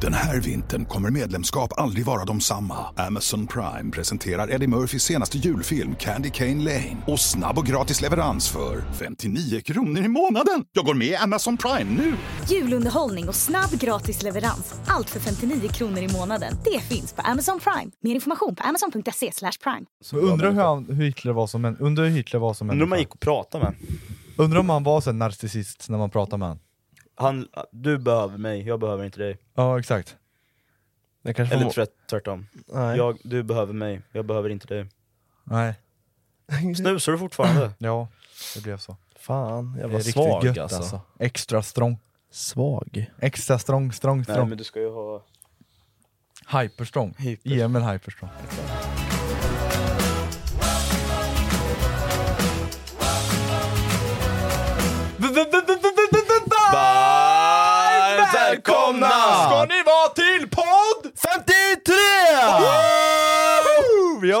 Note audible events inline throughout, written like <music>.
Den här vintern kommer medlemskap aldrig vara de samma. Amazon Prime presenterar Eddie Murphys senaste julfilm Candy Cane Lane. Och snabb och gratis leverans för 59 kronor i månaden. Jag går med i Amazon Prime nu! Julunderhållning och snabb gratis leverans. Allt för 59 kronor i månaden. Det finns på Amazon Prime. Mer information på amazon.se slash prime. Men Undrar hur, han, hur Hitler var som en, undrar hur Hitler var som en. Undrar om man gick och pratade med Undrar om han var så här narcissist när man pratar med han. han. Du behöver mig, jag behöver inte dig. Ja, exakt. Det kanske Eller var- tvär- tvärtom. Nej. Jag, du behöver mig, jag behöver inte dig. Nej. Snusar du fortfarande? <clears throat> Ja, det blev så. Fan, Det är jag var riktigt svag gött alltså. alltså. Extra strong. Svag. Extra strong, strong, Nej strong. men du ska ju ha... Hyperstrong. Hyper. Ge mig en hyperstrong. Varmt välkomna ska ni vara till podd 53! Woho! Vi har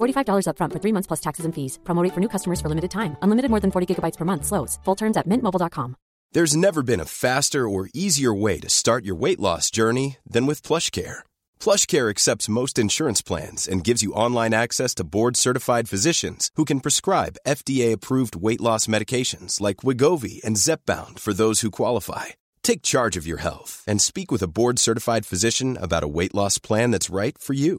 $45 upfront for three months plus taxes and fees. Promo rate for new customers for limited time. Unlimited more than 40 gigabytes per month. Slows. Full terms at mintmobile.com. There's never been a faster or easier way to start your weight loss journey than with PlushCare. PlushCare accepts most insurance plans and gives you online access to board-certified physicians who can prescribe FDA-approved weight loss medications like Wigovi and Zepbound for those who qualify. Take charge of your health and speak with a board-certified physician about a weight loss plan that's right for you.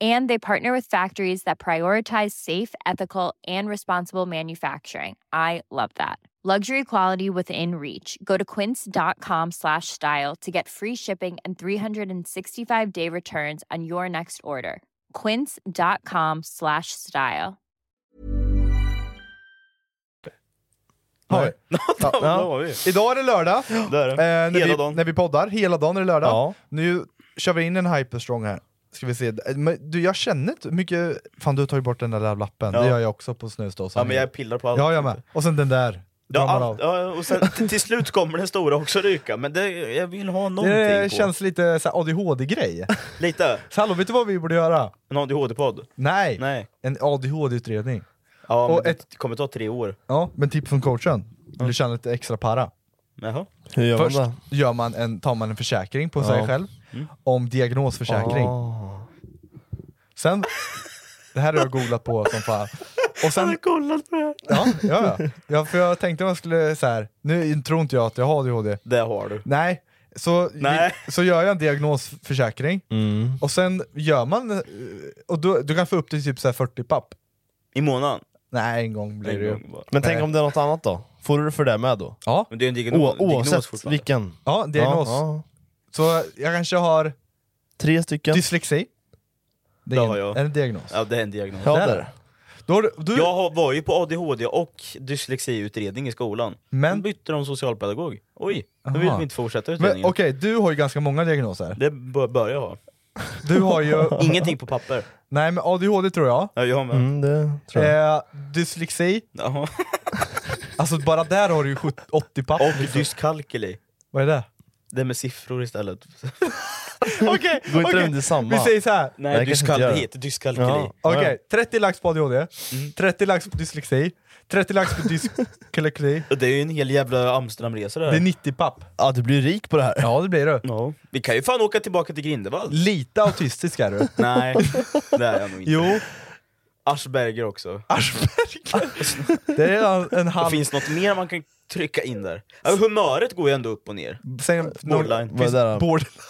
And they partner with factories that prioritize safe, ethical, and responsible manufacturing. I love that. Luxury quality within reach. Go to quince.com slash style to get free shipping and 365 day returns on your next order. Quince.com slash style. Har vi. Ja, Ja. där var vi. Idag är det lördag. Det är det. Eh, när, Hela vi, dagen. när vi poddar. Hela dagen är det lördag. Ja. Nu kör vi in en hyperstrong här. Ska vi se. Eh, Men, du, jag känner inte mycket... Fan, du har tagit bort den där jävla lappen. Ja. Det gör jag också på snus då. Ja men jag pillar på allt. Ja, jag med. Och sen den där. Ja, Drar man allt, av. ja, och sen <laughs> t- till slut kommer den stora också ryka, men det, jag vill ha någonting Det på. känns lite så här ADHD-grej. Lite, Så hallå, vet du vad vi borde göra? en ADHD-podd. Nej, Nej. en ADHD-utredning. Ja, Och men ett- det kommer ta tre år. Ja, men tips från coachen. Vill du tjäna lite extra para? Jaha. Hur gör Först man det? gör man en, tar man en försäkring på sig Ja. själv, Mm. om diagnosförsäkring. Ah. Sen, det här har jag googlat på som fan. Och sen, kollat på det ja, ja, ja. ja, för jag tänkte man skulle så här. nu tror inte jag att jag har ADHD. Det har du. Nej, så, Nej. så gör jag en diagnosförsäkring, och sen gör man, eh, och du, du kan få upp till typ så här 40 papp. I månaden. Nej, en gång blir det En ju. gång bara. Men Eh. tänk om det är något annat då? Får du det för det med då? Ja, Men det är en diagnos, O- diagnos oavsett fortfarande. vilken? ja, diagnos. Ja, ja. Så jag kanske har Tre stycken? dyslexi. Det Det är har en, jag. en diagnos. Ja det är en diagnos. ja, där. där. Där. Då har du, du, Jag har- var ju på ADHD och dyslexiutredning i skolan. Men- Sen bytte de socialpedagog. Oj, då vill Aha. de inte fortsätta Men utredningen. okej, du har ju ganska många diagnoser. Det bör börjar jag ha. Du har ju... <laughs> Ingenting på papper. nej men ADHD tror jag. Ja, jag med. Mm, det tror jag. Eh, dyslexi, Jaha. alltså bara där har du ju 70 80 papp. Och dyskalkyli. Vad är det? Det är med siffror istället. Okej, <laughs> Går inte det Eh, okej. under samma? Vi säger så här. Nej, Nej, kanske inte dyskal- gör det det. heter dyskalkyli. Ja. Mm. Okej, 30 lax på ADHD, 30 lax på dyslexi, 30 lax på dyskalkyli. Och Det är ju en hel jävla Amsterdamresa det Det är här. 90 papp. Ja, du blir rik på det här. Ja, det blir du. Ja. Vi kan ju <laughs> fan åka tillbaka till Grindelvald. Lite autistisk är du. Nej, det är jag nog inte. Jo, Aschberger också. <laughs> Aschberger. Det är en- en Det halv... finns något mer man kan trycka in där. Ja, humöret går ju ändå upp och ner. Sen, Borderline. Finns, Vad är det då? borderline.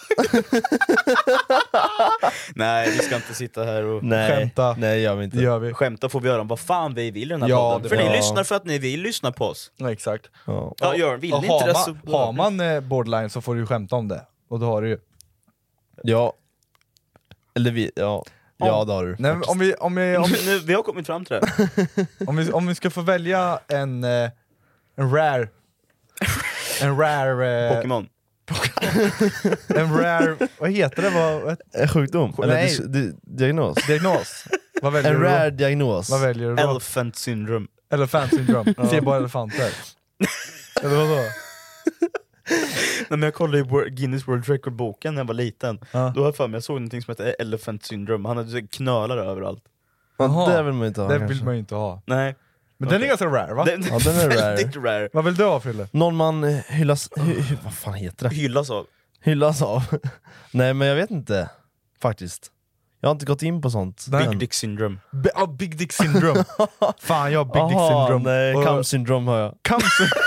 Nej, vi ska inte sitta här och Nej, Skämta. nej gör vi inte. Det gör vi. skämta får vi göra om vad fan vi vill i den här Ja, podden. det- För ja. ni lyssnar för att ni vill lyssna på oss. Ja, exakt. Ja. Ja, gör, vill Och ni inte det har, så... man, har man eh, borderline så får du ju skämta om det. Och då har du ju. ja. Eller vi, ja. Ja det har du. Nej, men om, vi, om, vi, om, <laughs> Nu, vi har kommit fram till det. <laughs> om, vi, om vi ska få välja en, eh, en rare... En rare... eh, Pokémon. En rare... Vad heter det? Vad, vad, En sjukdom? Eller Nej. dis- di- diagnos? diagnos? Vad väljer En du rare då? diagnos. Vad väljer du då? Elephant syndrome. Elefant <laughs> syndrom. Ser bara elefanter. Eller vadå? Nej, men jag kollade i Wor- Guinness World Record-boken när jag var liten. Ja. Då har jag för mig jag såg någonting som hette Elephant syndrome. Han hade så här knölar överallt. Ja, Jaha. det vill man inte ha Det kanske. vill man ju inte ha. Nej. Men den är ganska rare va? Den, Ja, den <laughs> är väldigt rare. Vad vill du ha Frille? Någon man hyllas... Hy, hy, vad fan heter det? Hyllas av. Hyllas av? <laughs> Nej men jag vet inte, faktiskt. Jag har inte gått in på sånt. Big Dick syndrome. B- ah, big dick <laughs> syndrome. Fan jag har big dick syndrome. nej, Och- cum syndrom har jag. Kamps-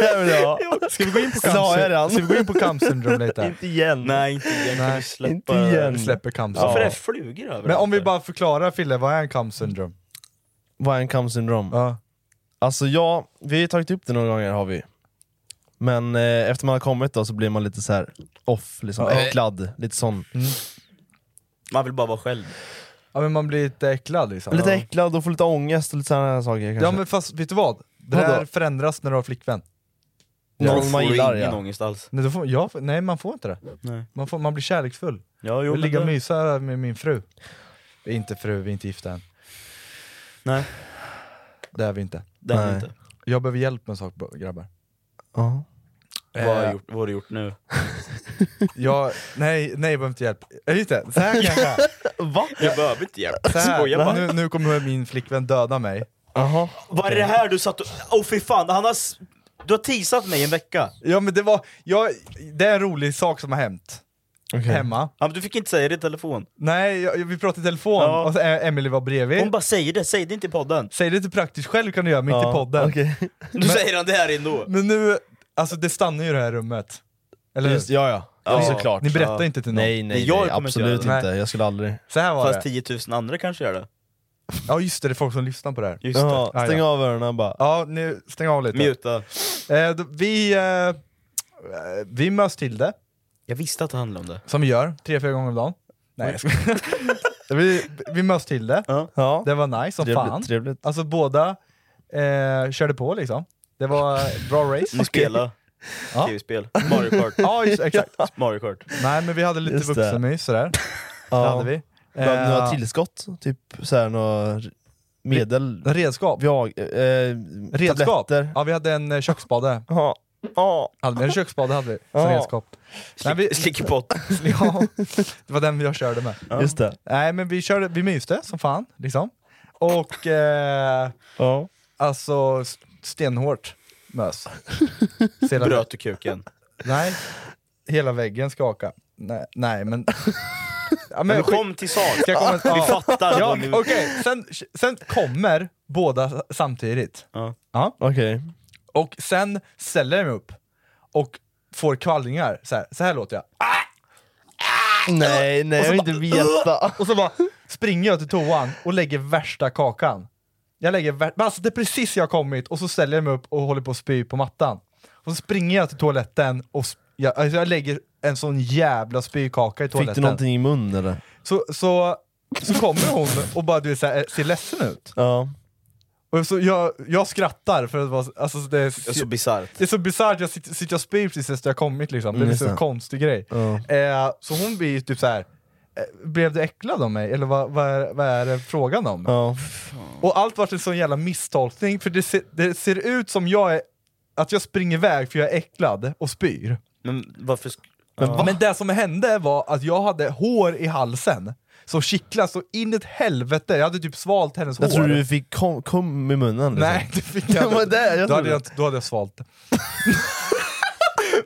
Det vill jag ha. Ska vi gå in på Sa jag kamp redan? Ska vi gå in på kamp syndrom lite? Inte igen. Nej, inte igen. Kan Nej, vi släppa... inte igen. Vi släpper kamp Varför är syndrom. det flugor överallt? Men om vi där? bara förklarar Frille, vad är en kamp syndrom? Vad är en cum syndrom? Ja. Alltså ja, vi har ju tagit upp det några gånger har vi. Men eh, efter man har kommit då så blir man lite så här off, liksom Ja. äcklad, lite sån. Man vill bara vara själv. ja men man blir lite äcklad liksom. Lite äcklad och får lite ångest och lite sådana här saker kanske. Ja men fast vet du vad? Det Vadå? där förändras när du har flickvän. Då Någon får man du gillar ingen ja. ångest alls. Nej, då får, ja, nej man får inte det. Nej. Man, får, man blir kärleksfull. Ja, Jag jo, vill men ligga och det- mysa med min fru. Vi är inte fru, vi är inte gifta än. Nej, Det är vi inte. det har Nej. vi inte. Jag behöver hjälp med en sak bro- grabbar. Ja. Vad har, jag gjort, vad har du gjort nu? Jag, nej, nej jag behöver inte hjälp. Äh, just det, så här kan jag säga. Va? Jag behöver inte hjälp. Så här, Skoja bara. nu, nu kommer min flickvän döda mig. Jaha. Vad är det här du satt och... Åh fy fan, han har... s- Du har teasat mig en vecka. Ja men det var, jag, det är en rolig sak som har hänt. Hemma. Ja, men du fick inte säga det i telefon. Nej, jag, jag- vi pratade i telefon Ja. och så, Ä- Emily var bredvid. Hon bara säger det, säg det inte i podden. Säg det till praktiskt själv kan du göra, men inte i podden. <laughs> Okej. Nu säger han det här ändå. Men nu, alltså det stannar ju i det här rummet. Eller hur? Just, ja, ja. ja såklart. Ni berättar inte till någon. Nej, nej, Jag nej kommer inte absolut göra inte. det. Jag skulle aldrig. Så här var Fast det. 10 000 andra kanske gör det. Ja just det, det är folk som lyssnar på det här. Just Jaha, Ja, stäng ja. av öronen bara. Ja, nu, stäng av det. lite. Muta. Eh, då, vi, eh, eh, vi möts till det, Jag visste att det handlade om det. som vi gör, tre, fyra gånger om dagen. Nej, jag skojar. vi, vi möts till det, Ja. det var nice som trevligt, fan. trevligt. Alltså båda eh, körde på liksom. Det var bra race. Mm. Ni spelade Ja. tv-spel. Mario Kart. <laughs> Ja, just, <laughs> exakt. Mario Kart. Nej men vi hade lite Just det. vuxenmys sådär. Det hade vi. Behövde ni Eh, några tillskott? Typ såhär några r- medel? Redskap. Viag, eh, eh, Redskap? tabletter? Ja vi hade en eh, köksspade. Ja. Ja. Hade vi en köksspade hade vi som Ja. redskap. Nej, vi, Slick- Slickepott. <laughs> ja, det var den jag körde med. Just det. Nej men vi körde, vi myste som fan liksom. Och eh, Ja. alltså s- stenhårt mös. Hela, Bröt du kuken? Nej, hela väggen skaka. Nej, nej men... ja, Men skit- kom till sak. Ska jag komma- Vi ja. fattar. Ja, vad ni- Okej, sen, sen kommer båda samtidigt. Ja. Okej. Och sen ställer jag mig upp och får kvallningar. Så här, så här låter jag. Nej, nej jag vill inte veta. <laughs> Och så bara springer jag till toan och lägger värsta kakan. Jag lägger vär- men alltså det är precis jag har kommit och så ställer jag mig upp och håller på att spy på mattan. Och så springer jag till toaletten och sp- jag, alltså jag lägger en sån jävla spykaka i toaletten. Fick du någonting i munnen eller? Så, så, så kommer hon och bara du är så här, ser ledsen ut. Ja. Och så jag, jag skrattar för att vara, alltså det är, Det är så bisarrt. det är så bisarrt, jag sitter, sitter och spyr precis efter jag kommit liksom. Det är Mm, en just så det. konstig grej. Ja. Eh, så hon blir ju typ så här. eh, Blev du äcklad av mig? Eller vad, vad, är, vad är det frågan om? ja. Och allt vart en sån jävla misstolkning, för det ser, det ser ut som jag är, att jag springer iväg för jag är äcklad och spyr. Men varför... sk- Men det som hände var att jag hade hår i halsen som kittlade så in i ett helvete, jag hade typ svalt hennes Jag hår. tror du fick kom, kom i munnen liksom. Nej, det fick <laughs> jag Det var inte. det jag då, hade trodde. jag, då hade jag <laughs> svalt det.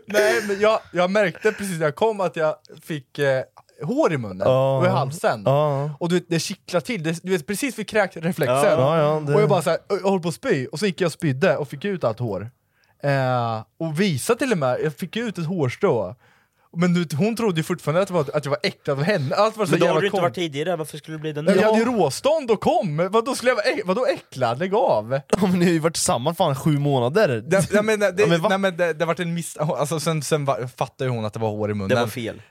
Nej, men jag, jag märkte precis när jag kom att jag fick eh, hår i munnen Ja. och i halsen. Ja. Och du vet, det kittlar till, det, du vet precis vid kräkreflexen. Ja, ja, det- Och jag bara så här, jag höll på att spy, och så gick jag och spydde och fick ut allt hår. Eh, och visa till och med, jag fick ut ett hårstrå. Men du, vet, hon trodde ju fortfarande att, det var, att jag var äcklad av henne. Allt var så Men det jävla har du inte kon- varit tidigare, varför skulle det bli det nu? Nej, Jag hade ju råstånd och kom! Vadå, skulle jag vara äck- vadå äcklad? Lägg av! Ja, men ni har ju varit tillsammans fan sju månader! Det, nej, men, det, <laughs> Ja, men va? nej, men det, det vart en miss... Alltså, sen sen var, fattade ju hon att det var hår i munnen. Det var fel.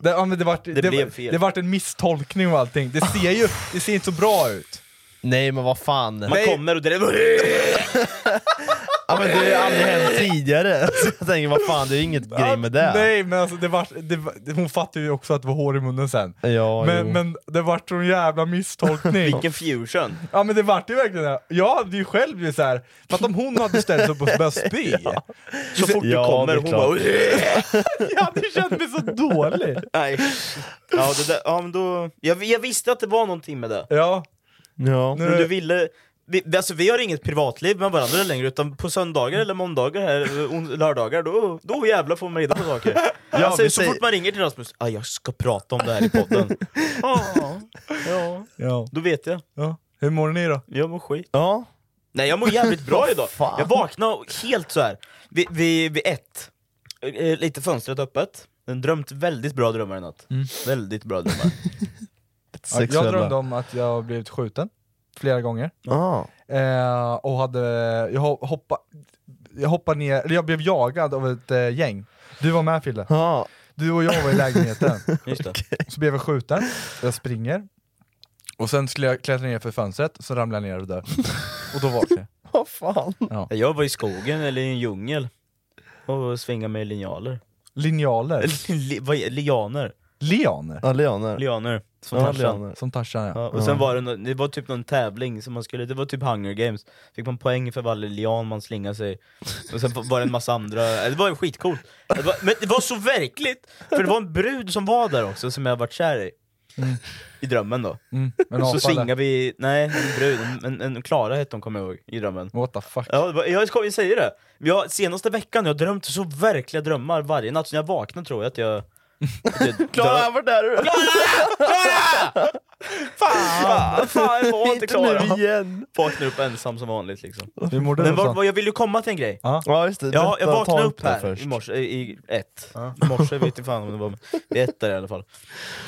Det, ja, men det, vart, det, blev fel. det vart en misstolkning och allting. Det ser ju det ser inte så bra ut. Nej men vad fan! Man Nej. kommer och det Ja, men det har ju aldrig hänt tidigare! <laughs> Så jag tänker vad fan, det är ju inget grej med det! Nej, men alltså, det vart, det, var- det, hon fattade ju också att det var hår i munnen sen. Ja, men, jo. men det vart sån jävla misstolkning. Vilken fusion! Ja men det vart ju verkligen det. Jag hade ju själv blivit såhär, för att om hon hade ställt sig upp och börjat spy, Så fort Ja, du kommer, det är hon klart. bara jag hade ju känt mig så dålig. Nej. Ja, det där, ja, men då, jag, jag visste att det var någonting med det. Ja, Ja. Men du ville... Vi, vi- alltså, vi har inget privatliv med varandra längre, utan på söndagar eller måndagar, här, eh, on- lördagar, då, då jävlar får man reda på saker. alltså, vi så säger- fort man ringer till Rasmus, ah, jag ska prata om det här i podden. ah, ja, ja. då vet jag. ja. Hur mår ni då? Jag mår skit. ja. Nej jag mår jävligt <laughs> bra idag. fan? Jag vaknade helt så här. Vid, vid, vid ett, eh, lite fönstret öppet. Den drömt väldigt bra drömmar i natt. Mm. Väldigt bra <laughs> drömmar. Ja, Sexuella. jag drömde om att jag blivit skjuten flera gånger. Ah. Eh, och hade, jag ho- hoppa, jag hoppade ner, eller jag blev jagad av ett eh, gäng. Du var med Fille, Ja. du och jag var i lägenheten. Just det. Så blev jag skjuten, jag springer. Och sen skulle jag klättra ner för fönstret, så ramlade jag ner och dör. Och då vaknade jag. Vad fan? Jag var i skogen eller i en djungel och svingade med linjaler. <laughs> Linjaler. Eller Li, vad är- lianer. Lianer. Ja, Leoner. Lianer. Som Ja, Tarzan. lianer. Som Tarzan ja. Ja, och sen var det, nå- det var typ någon tävling som man skulle, det var typ Hunger Games. Fick man poäng för varje lian man slingade sig. Och sen var det en massa andra, äh, det var skitcoolt. Det var, men det var så verkligt! För det var en brud som var där också, som jag varit kär i. I drömmen då. Mm. Men Och apan så där. svingade vi, nej en brud, en- en, en Klara hette hon kommer jag ihåg, i drömmen. What the fuck. Ja, det var- jag ska- jag säger det. Jag, senaste veckan jag har drömt så verkliga drömmar varje natt, så när jag vaknar tror jag att jag... att jag dör. <laughs> Klara, vart är du? Fan! Fan, jag var inte Klara! igen! Vaknar upp ensam som vanligt liksom. Hur mår du Men då, var, Sam? var, jag ville komma till en grej. Ja just det, Ja, jag Ta- ta vaknade upp upp det här först. i morse, i, i ett. I morse vet inte fan om det var vid ett där i alla fall.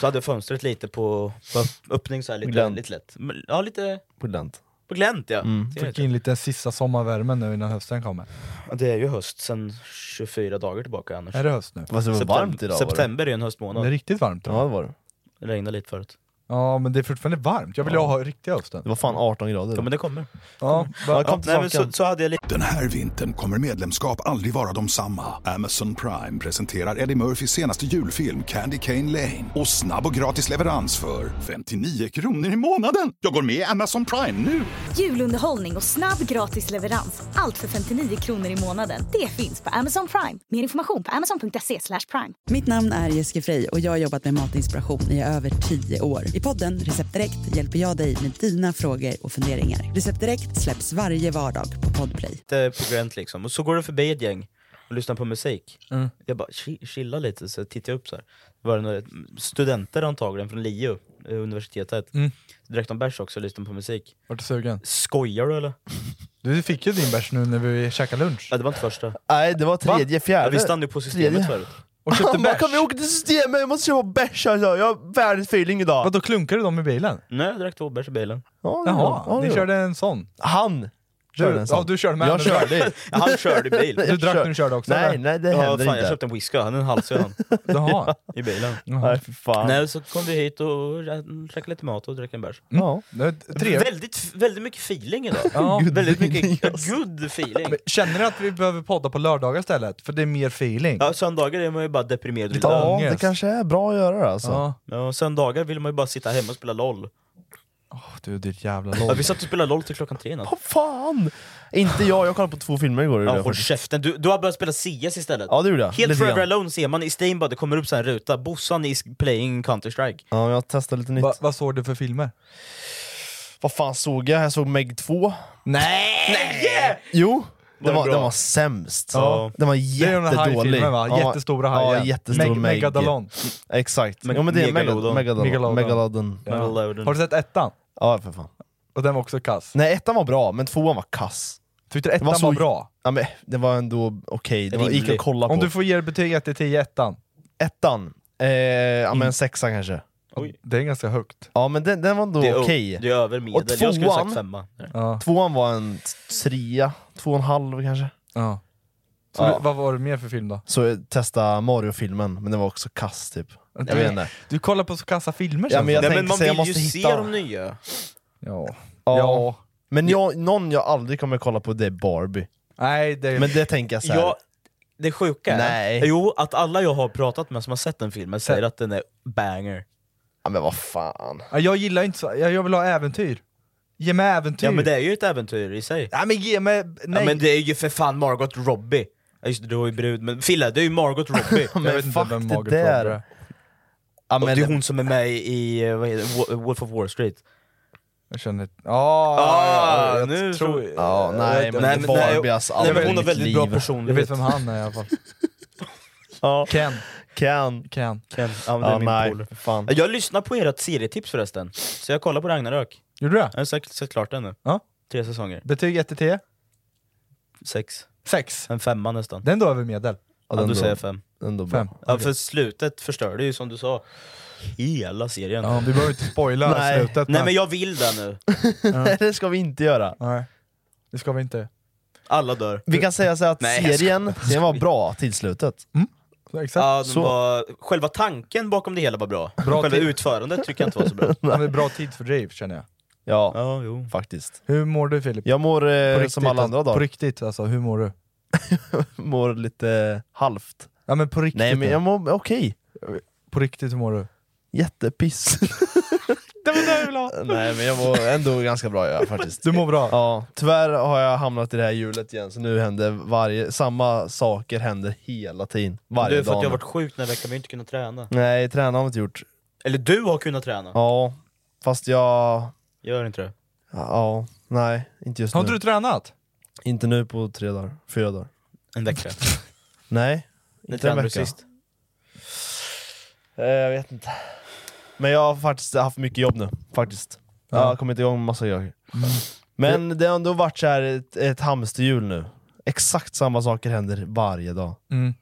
Så hade jag fönstret lite på, på öpp- öppning så här, lite, Glänt. Mm. lite lätt. Men- Ja, lite På Lent. på glänt ja. Ser jag Fick in lite sista sommarvärmen nu innan hösten kommer. Ja, Det är ju höst sen 24 dagar tillbaka annars. Är det höst nu? Fast det var Septem- varmt idag var September är ju en Det är höstmånad. riktigt varmt. det? Ja det var det. Det regnade lite förut. Ja men det är fortfarande varmt, jag vill ju ha riktiga Det hösten. var fan 18 grader. Ja men det kommer. Ja, Ja, va- kom till Nej, men så, saken. så hade jag lite... Den här vintern kommer medlemskap aldrig vara de samma. Amazon Prime presenterar Eddie Murphys senaste julfilm Candy Cane Lane. Och snabb och gratis leverans för 59 kronor i månaden. Jag går med i Amazon Prime nu! Julunderhållning och snabb gratis leverans. Allt för 59 kronor i månaden. Det finns på Amazon Prime. Mer information på amazon.se slash prime. Mitt namn är Jessica Frey och jag har jobbat med matinspiration i över 10 år. I podden Recept Direkt hjälper jag dig med dina frågor och funderingar. Recept Direkt släpps varje vardag på Podplay. lite på Grant liksom, och så går det förbi ett gäng och lyssnar på musik. Mm. Jag bara chi- chilla lite, så tittar jag upp så här. Det var några studenter antagligen från LiU, eh, universitetet. Mm. Drack de bärs också och lyssnade på musik. vart du sugen? Skojar du eller? Du fick ju din bärs nu när vi käkade lunch. Nej det var inte första. Nej det var tredje, fjärde. Ja, vi stannade ju på systemet Tredje. <laughs> förut. Och köpte Bara, bärs. kan vi åka till systemet? Jag måste köpa bärs alltså. Jag har världens feeling idag. Vadå klunkade du dem i bilen? Nej jag drack två bärs i <laughs> bilen. Ja, det Jaha, var- ja, det ni var- körde en sån? Han! Du, Körde en sån. ja du körde med Jag henne. körde. Ja, han körde i bil. <laughs> Du drack när du Kör- körde också? Nej eller? nej det Ja, händer fan, jag inte. köpte en whisky, han är en halsig han, <laughs> Jaha. i bilen. Jaha. Nej för fan. Nej, så kom vi hit och rä- käkade lite mat och drack en bärs. Ja. Mm. Det är Trevligt. Väldigt, väldigt mycket feeling idag. <laughs> Ja. Väldigt mycket alltså. good feeling. Men Känner ni att vi behöver podda på lördagar istället? För det är mer feeling. Ja, söndagar är man ju bara deprimerad och lite Ja, det ångest. kanske är bra att göra det alltså. Ja. Ja, söndagar vill man ju bara sitta hemma och spela LOL. Åh, du ditt <laughs> jävla Ja, låg. vi satt och spelade LOL till klockan tre i natt. Vad fan! Inte jag, jag kollade på två filmer igår. Ja, håll käften, du, du har börjat spela CS istället. ja det gjorde jag. Helt Lite Forever grann. Alone ser man i Steam bara, det kommer upp så här en ruta, Bossan is playing Counter-Strike. Ja, jag testade lite nytt. Va, vad såg du för filmer? Vad fan såg jag? Jag såg Meg 2. Nej! Jo! den, var, bra? den var sämst. Ja. Den var Det är den här jättedålig. hajfilmen va? Ja, Jättestora hajar. Ja, jättestor Meg- meg. Megadalon. Exakt. Meg- jo men det är Megalodon. Megalodon. Megalodon. Megalodon. Megalodon. Ja. Megalodon. Har du sett ettan? Ja för fan. Och den var också kass. Nej ettan var bra, men tvåan var kass. Tyckte du ettan var var, så- bra? Ja, men, det var ändå okej, det var, gick Rimlig. att kolla på. Om du får ge det betyg 1 till 10 ettan. Ettan, eh, ja men sexan kanske. Oj. Det är ganska högt. Ja men den, den var ändå Det är- okej. Det är över medel, Och jag skulle tvåan- sagt femma. Ja. Tvåan var en trea, två och en halv kanske. ja. Så Ja. du, vad var det mer för film då? Så jag testade Mario-filmen, men den var också kass typ. Jag vet inte. Du kollar på så kassa filmer Ja, känns men jag det. Nej, men tänkte man säga, jag vill ju måste se hitta- de nya. ja. Ja. ja. Men jag, någon jag aldrig kommer kolla på det är Barbie. Nej, det... Men det tänker jag såhär, Jag, det sjuka är Nej. Jo, att alla jag har pratat med som har sett den filmen säger att den är banger. ja, men vad fan. Ja, jag gillar inte så... Jag jag vill ha äventyr. Ge mig äventyr. Ja men det är ju ett äventyr i sig. Nej men ge mig... Typ. Nej! Ja, men det är ju för fan Margot Robbie. Ja, just det, du har ju brud, men Fille, det är ju Margot Robbie. Men jag vet inte fuck vem det Margot där. Robbie är. Ja, Och men, det är hon som är med i, i eh, vad heter det, Wo- Wolf of Wall Street. Jag känner... Ja, Ah, ja, ja, jag nu tror- ja, nej, men, Nej, nej, men- Barbie alltså, Nej, aldrig men i hon har mitt väldigt liv. bra Jag personlighet. vet vem han är i <laughs> alla fall. Ja, Ken. Ken. Ken. Ken. Ja, men det är Ja, min nej, polare. fan. Jag lyssnar på ert serietips förresten, så jag kollar på Ragnarök. Gjorde du det? Jag har sett, sett klart den nu. Ja. Tre säsonger. Betyg 1 till 10? Sex. 6. En femma nästan. Det är ändå över medel. Ja, Ja, den du då- säger fem. den då Fem. bra. Ja, för slutet förstörde ju som du sa hela serien. Ja, vi behöver inte spoila Nej. slutet. Nej men jag vill det nu. Nej, <laughs> det ska vi inte göra. Nej. Det ska vi inte. Alla dör. Vi kan säga så här att Nej, jag serien, serien var bra till slutet. Exakt. Ja, den Så. var, själva tanken bakom det hela var bra. Bra själva tid. utförandet tycker jag inte var så <laughs> bra. Men Det är bra tidsfördriv känner jag. Ja, Ja, jo. faktiskt. Hur mår du Filip? Jag mår På eh, riktigt, som alla andra alltså. På dagar, riktigt alltså, hur mår du? mår lite halvt. Ja men på riktigt. Nej men nu. jag mår okej. På riktigt hur mår du? Jättepiss. <laughs> Det var det jag ville ha! Nej men jag mår ändå ganska bra jag, faktiskt. Du mår bra? Ja, tyvärr har jag hamnat i det här hjulet igen, så nu händer varje, samma saker händer hela tiden. Du, Varje för att dag. jag har nu. varit sjuk den här veckan, vi har inte kunnat träna. Nej, träna har vi inte gjort. Eller du har kunnat träna. Ja, fast jag... Gör inte det. Ja, nej, inte just Har nu. inte du tränat? Inte nu på tre dagar, fyra dagar. En vecka. Nej, När inte en tränade du vecka. sist? Eh, jag vet inte. Men jag har faktiskt haft mycket jobb nu, faktiskt. Jag har kommit igång med massa grejer. Men det har ändå varit så här ett, ett hamsterhjul nu. Exakt samma saker händer varje dag. Mm.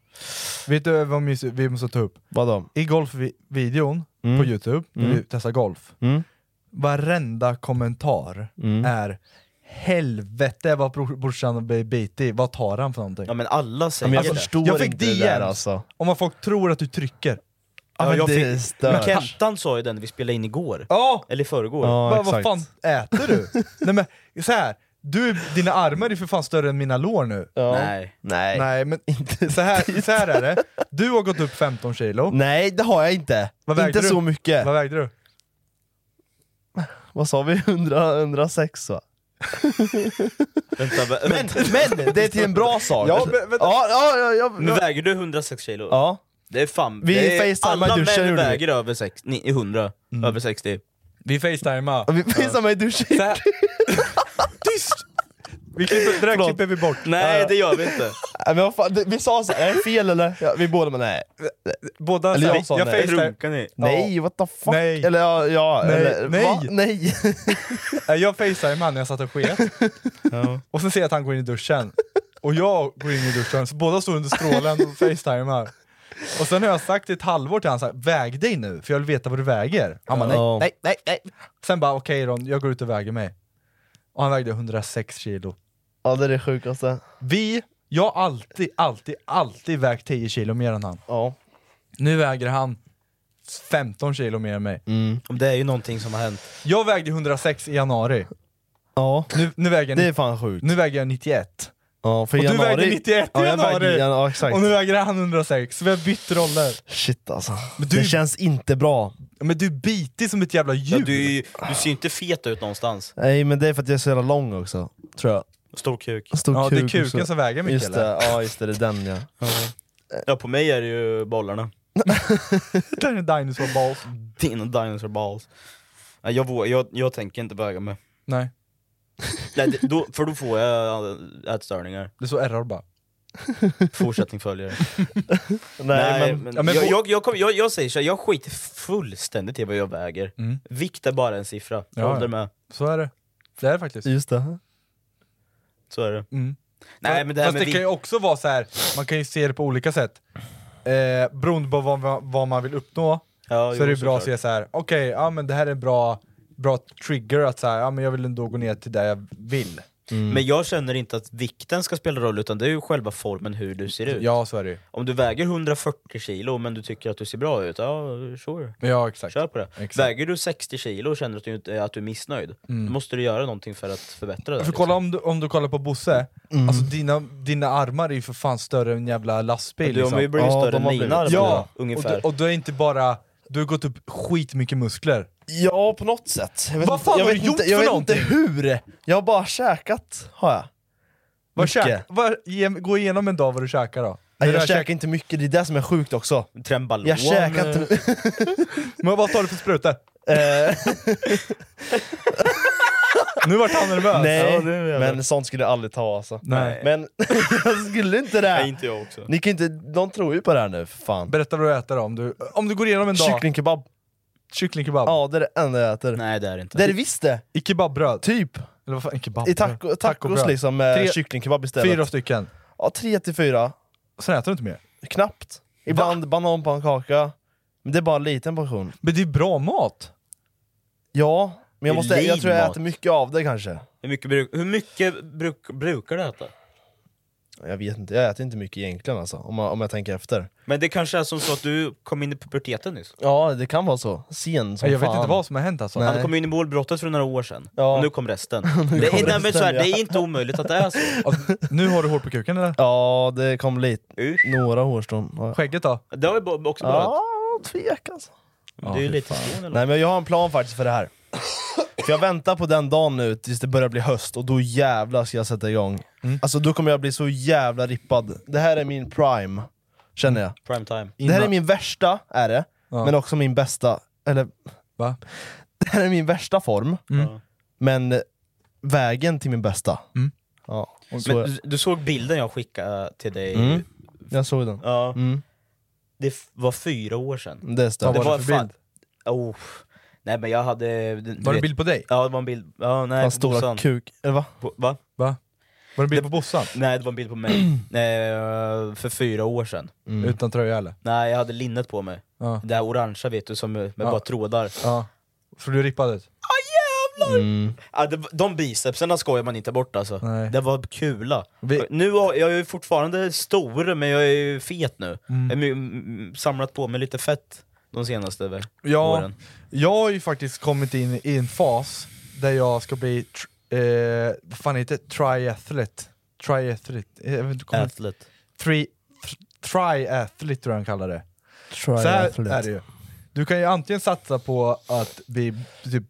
Vet du vad vi måste- vi måste ta upp? Vadå? I golfvideon Mm. på youtube, när vi testar golf, Mm. varenda kommentar är Helvete vad bro- brorsan blir bitig, vad tar han för någonting? Ja men alla Men säger jag det. förstår jag fick inte det där DMs. alltså. Om vad folk tror att du trycker. Ja, men jag det fick- är stört. Men Kentan sa ju den när vi spelade in igår. Ja! Eller i förrgår. Ja, Va, vad exakt. fan äter <laughs> du? Nej men så här. Du, dina armar är för fan större än mina lår nu. Ja. Nej. Nej. Nej. Nej men <laughs> så här, så här är det, du har gått upp 15 kilo, det har jag inte. Vad vägde inte du? så mycket. vad vägde du? Vad sa vi? <laughs> 100, 106 va? Vänta, vä- Men, vänta. men det är till en bra sak. Ja, men- vänta. ja, ja, ja, ja, Nu väger du 106 kilo. ja. Det är fan... Vi det är, facetimade alla i duschen, män gjorde vi. väger över sex, ni, 100. Mm. Över 60. Vi facetimar. <laughs> Vi pissar mig i duschen. Så här. Tyst! Vi klipper, det där klipper vi bort. Nej det gör vi inte. Nej, men vad fan, det- vi sa så här, är det fel eller? Ja, vi båda bara nej. Båda Eller så här, jag sa nej. facetim- Runkar ni? Nej, what the fuck? Nej. Eller ja, ja Nej, eller, nej. va? nej. <laughs> Nej, Jag facetimade han när jag satt och sket, och sen ser jag att han går in i duschen. Och jag går in i duschen, så båda står under strålen och facetimar. Och sen har jag sagt i ett halvår till honom väg dig nu, för jag vill veta vad du väger. Han bara nej, Ja. nej, nej, nej. Sen bara okej då, jag går ut och väger mig. Och han vägde 106 kilo. Ja, det är det sjukaste. Vi, jag har alltid, alltid, alltid vägt 10 kilo mer än han. Ja. Nu väger han 15 kilo mer än Mm. mig. Det är ju någonting <laughs> som har hänt. Jag vägde 106 i januari. ja, Nu, nu, väger, jag, det är ni- fan sjukt. nu väger jag 91. Ja, för Och januari... du vägde 91 i ja, jag januari! Vägde, ja, exakt. Och nu väger han 106, så vi har bytt roller. Shit alltså. du- Det känns inte bra. Men du är bitig som ett jävla Ja, djur! du, är ju- du ser ju inte fet ut någonstans. Nej, men det är för att jag är så jävla lång också. Tror jag. Stor kuk. Stor Ja, det är kuk kuken också. som väger mycket Just det, ja just det, det är den ja. Ja, på mig är det ju bollarna. <laughs> eller? Det är en dinosaur balls. Dina dinosaur balls. Nej, Jag, vågar, jag, jag tänker inte väga mig. Nej. Nej, det- då, för då får jag ätstörningar. Det är så errar bara. <laughs> Fortsättning följer. Nej, Nej, men, men, ja, men jag, vå- jag, jag, kommer- jag, jag säger så här, jag skiter fullständigt i vad jag väger. Mm. Vikt är bara en siffra. Ja, Ålder ja. med. Så är det. Det är det faktiskt. Just det. Så är det. Mm. Nej, men det här Fast med det kan ju vikt... också vara så här. man kan ju se det på olika sätt. Eh, beroende på vad, vad- vad man vill uppnå, Ja, så jo, är det ju bra att såklart. se så här. okej, ja men det här är en bra, bra trigger att så här, ja men jag vill ändå gå ner till där jag vill. Mm. Men jag känner inte att vikten ska spela roll, utan det är ju själva formen hur du ser ut. Ja så är det ju. Om du väger 140 kilo men du tycker att du ser bra ut, ja sure. Ja exakt. Kör på det. Exakt. Väger du 60 kilo och känner att du, inte, att du är missnöjd, Mm. då måste du göra någonting för att förbättra det. För kolla om du, om du kollar på Bosse, Mm. alltså dina, dina armar är ju för fan större än en jävla lastbil. Du har ju liksom. blivit Ja, större de än har mina blivit- armar, Ja, ungefär. Och, du, och du är inte bara, du har gått upp skitmycket muskler. Ja, på något sätt. Jag vet Vad fan jag har vet du gjort inte, jag för vet någonting? inte hur! Jag har bara käkat, har jag. Vad Mycket. käk, vad, ge, gå igenom en dag vad du käkar då. Nej, När du jag har käkar käkat- inte mycket, det är det som är sjukt också. Tremballon. Jag käkar eh, inte... Men vad tar du för sprutor? eh, Nu vart han nervös. <laughs> nej, Ja, det är det. men sånt skulle jag aldrig ta alltså. Nej. Men <laughs> jag skulle inte det! Nej, inte jag också. Ni kan inte, de tror ju på det här nu, för fan. Berätta vad du äter då, om du, om du går igenom en dag, Kycklingkebab, kycklingkebab, ja det är det enda jag äter. Nej det är det inte. Det är det visst det! i kebabbröd, Typ! eller vad fan, i kebabbröd? I taco, tacos Tacobröd. liksom, med Tre- kycklingkebab istället. Fyra stycken, Ja, tre till fyra. sen äter du inte mer. Knappt. Ibland bananpannkaka. Men det är bara en liten portion. Men det är bra mat! Ja, men jag, Det är måste, jag tror jag livmat. äter mycket av det kanske. Hur mycket, bruk, hur mycket bruk, brukar du äta? Jag vet inte, jag äter inte mycket egentligen alltså, om, jag, om jag tänker efter. Men det kanske är som så att du kom in i puberteten nyss. Ja, det kan vara så. Sen som jag fan. vet inte vad som har hänt alltså. Nej. Han kom in i målbrottet för några år sedan, Ja. och nu kom resten. det, är, nej, men så här, resten, det ja. är inte omöjligt att det är så. Alltså, nu har du hår på kuken eller? Ja, det kom lite. Usch. Några hårstrån. Ja. Skägget då? Det har ju bo- också Ja, bra. tvek alltså. Du är ju lite skån eller? Nej men jag har en plan faktiskt för det här. För jag väntar på den dagen nu tills det börjar bli höst och då jävlar ska jag sätta igång. Alltså då kommer jag bli så jävla rippad. Det här är min prime, känner jag. Prime time. Det här är min värsta, är det, Ja. men också min bästa, eller <laughs> Va? det här är min värsta form, Mm. men vägen till min bästa. Mm. Ja, så Men, du, du såg bilden jag skickade till dig? Mm. jag såg den. Ja, Mm. det f- var fyra år sedan. Det Vad stämmer. var var det för fan- bild? Oh. Nej men jag hade... du- du Var det vet- en bild på dig? Ja det var en bild, ja, nej, Hans på stora Bossan. kuk, eller va? På- Va? Va? Var det en bild på Bossan? Nej det var en bild på mig, eh, för fyra år sedan. Mm. Utan tröja eller? Nej jag hade linnet på mig, Ja. det här orangea vet du som med Ja. bara trådar. ja. För du rippade ut? Ja, det, de bicepsarna skojar man inte bort alltså. Nej. Det var kula. Vi- Nu har, jag är ju fortfarande stor, men jag är ju fet nu. Mm. Jag har my- m- samlat på mig lite fett de senaste ve- Ja, åren. jag har ju faktiskt kommit in i en fas där jag ska bli, tr- eh, vad fan heter det? Triathlete? Triathlete? Eh, Jag vet inte, kommer- Athlete. tri, tr- triathlete tror jag han kallar det. Så här Triathlete. är det ju. Du kan ju antingen satsa på att bli, typ,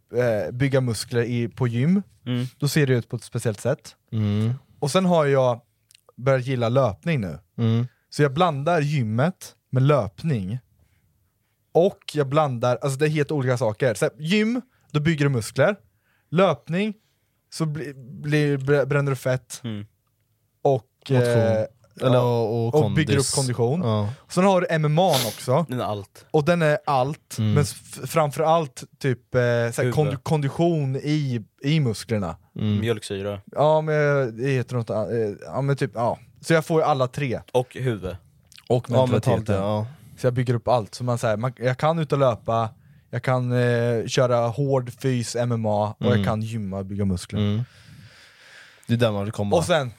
eh, bygga muskler i, på gym, Mm. då ser det ut på ett speciellt sätt. Mm. Och sen har jag börjat gilla löpning nu. Mm. Så jag blandar gymmet med löpning. Och jag blandar, alltså det är helt olika saker. Så här, gym, då bygger du muskler. Löpning, så bli, bli, br- bränner du fett. Mm. Och, Motion. Eller, ja, och, och, och bygger upp kondis. kondition. Ja. Sen har du MMA också, Den är allt. och den är allt, men f- framförallt typ eh, såhär, Huvud. kond kondition i, i musklerna. Mjölksyra. Ja men det heter något an- eh, ja, men typ, ja. Så jag får ju alla tre. Och huvud. Och Ja, mentalt ja. Så jag bygger upp allt. Så man, så här, man, jag kan ut och löpa, jag kan eh, köra hård fys, MMA, och jag kan gymma och bygga muskler. Det är där man vill komma. Och sen,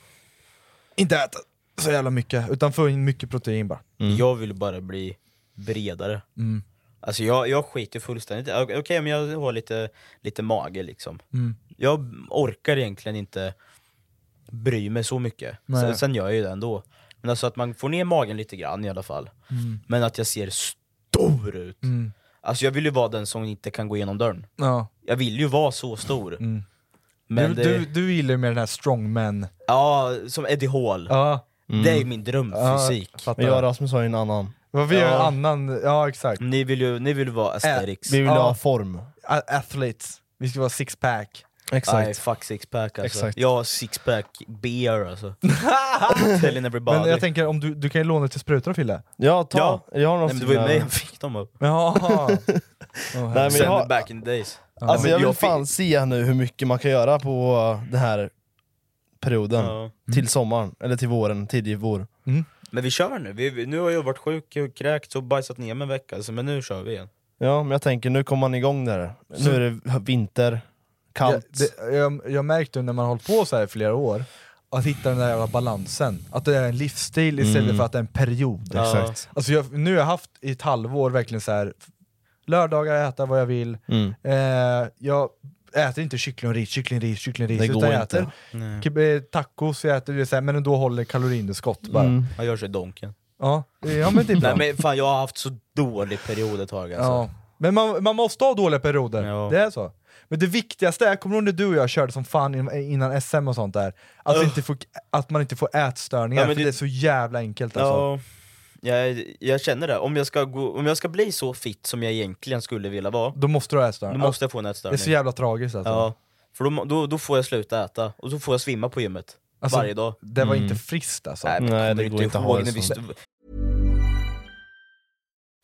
inte äta så jävla mycket, utan få in mycket protein bara. Jag vill bara bli bredare. Mm. Alltså jag, jag skiter fullständigt i- Okej, men jag har lite, lite mage liksom. Mm. Jag orkar egentligen inte bry mig så mycket. Nej. Sen, sen gör jag ju det ändå. Men alltså att man får ner magen lite grann i alla fall. Men att jag ser stor ut. Mm. Alltså jag vill ju vara den som inte kan gå igenom dörren. Ja. Jag vill ju vara så stor. Mm. Men du, det, du, du gillar ju mer den här strongman... ja, som Eddie Hall. Ja, Det är min drömfysik. ja, Men jag och fattar. Rasmus har ju en annan. Vad vi gör en Ja. annan, ja exakt. Äh, Ni vill ju ni vill vara asterix. Vi vill Ja. ha form. A- athletes, vi ska vara sixpack. Nej, fuck sixpack alltså. Exakt. Jag har sixpack beer <laughs> alltså. Telling everybody. Men jag tänker, om du, du kan ju låna till sprutor Fille. Ja, ta. Ja. Jag har någon Nej, men det var ju sån här- mig han fick dem av. Jaha. <laughs> Nej, men jag, Sen har, back in the days. alltså, men jag vill jag fick- fan se nu hur mycket man kan göra på uh, den här perioden. Ja. Mm. Till sommaren, eller till våren, tidig vår. Men vi kör nu. Vi, vi- nu har jag varit sjuk, och kräkts och bajsat ner mig en vecka, alltså, men nu kör vi igen. Ja, men jag tänker nu kommer man igång där. Nu är det vinter, jag, kallt. det, jag, jag märkte ju när man hållit på så här i flera år, att hitta den där jävla balansen. Att det är en livsstil istället Mm. för att det är en period. Exakt. Alltså jag, nu har jag haft i ett halvår verkligen så här lördagar äta vad jag vill, Mm. eh, jag äter inte kyckling och ris, kyckling och ris, kyckling och ris, Det utan går jag inte. äter keb- eh, tacos, jag äter, du vet, så här, men då håller kaloriunderskott bara. Mm. Han gör sig donken. Ja, ja men typ det är bra. Nej men fan jag har haft så dålig period ett tag alltså. Ja. Men man, man måste ha dåliga perioder, Ja. det är så. Men det viktigaste är, kommer du ihåg när du och jag körde som fan in- innan SM och sånt där? Att, Ugh. inte få, att man inte får ätstörningar, Ja, men för det... det- är så jävla enkelt alltså. Ja, jag, jag känner det. Om jag, ska gå, om jag ska bli så fit som jag egentligen skulle vilja vara, Då måste du ha ätstörningar. då måste jag få en det är ätstörning. så jävla tragiskt alltså. ja, för då, må- då, då får jag sluta äta, och så får jag svimma på gymmet. Alltså, varje dag. Det var inte friskt alltså. Nej, men Mm. Nej, kommer det du går inte att ha ihåg det när vi så. stod-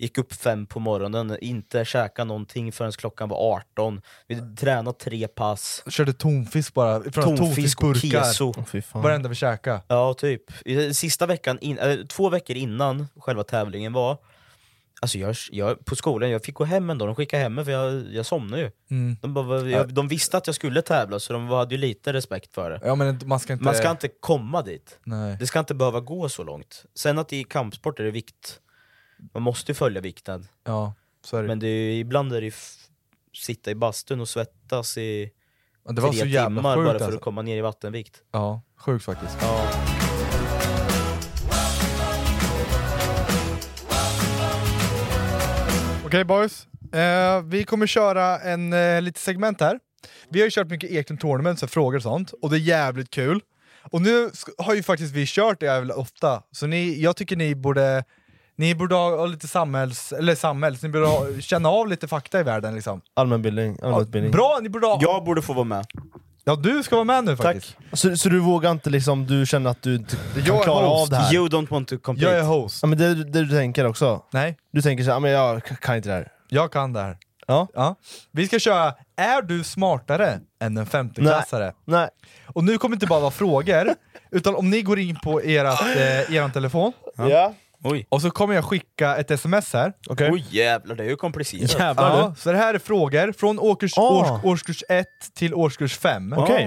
Gick upp fem på morgonen, inte käka någonting förrän klockan var 18. Vi tränade tre pass. Körde tonfisk bara, från Tonfisk och tonfiskburkar. keso. Åh, fy fan. Varenda vi käkade. Ja, typ. I- Sista veckan, in, eh, två veckor innan själva tävlingen var, alltså jag, jag, på skolan, jag fick gå hem en dag, de skickade hem mig för jag, jag somnade ju. De, bara, "Vad- jag, de visste att jag skulle tävla så de hade ju lite respekt för det. Ja men man ska inte... Man ska inte komma dit. Eh. Nej. Det ska inte behöva gå så långt. Sen att i kampsport är det vikt, man måste ju följa vikten. Ja, så typ. är det. Men det är, ju- ibland är det ju f- sitta i bastun och svettas i Men det var tre så jävla timmar sjukt bara för alltså. att komma ner i vattenvikt. Ja, sjukt faktiskt. Okej boys, Eh, vi kommer köra en eh, lite segment här. Vi har ju kört mycket Eklund Tournament, så här frågor och sånt, och det är jävligt kul. Och nu sk- har ju faktiskt vi kört det jävligt ofta, så ni, jag tycker ni borde ni borde ha ha lite samhälls... Eller samhälls... Ni borde ha, känna av lite fakta i världen liksom. Allmänbildning, allmänutbildning. Bra! Ni borde ha... Ja. Jag borde få vara med. du ska vara med nu faktiskt. Så, så du vågar inte liksom, du känner att du inte kan är klara host. av det här? You don't want to compete. Jag är host. Ja, men det, det du tänker också? Nej, Du tänker såhär, men jag k- kan inte det här. jag kan det här. Ja. Ja. Vi ska köra Är du smartare än en femteklassare? Nej. Och nu kommer det inte bara vara frågor, <laughs> utan om ni går in på erat, eh, eran telefon Ja. ja. och så kommer jag skicka ett sms här. Okej. Oj jävlar, det är ju komplicerat. Jävlar Ja, du. så det här är frågor från årskurs, Ah. års, årskurs 1 till årskurs 5. Okej.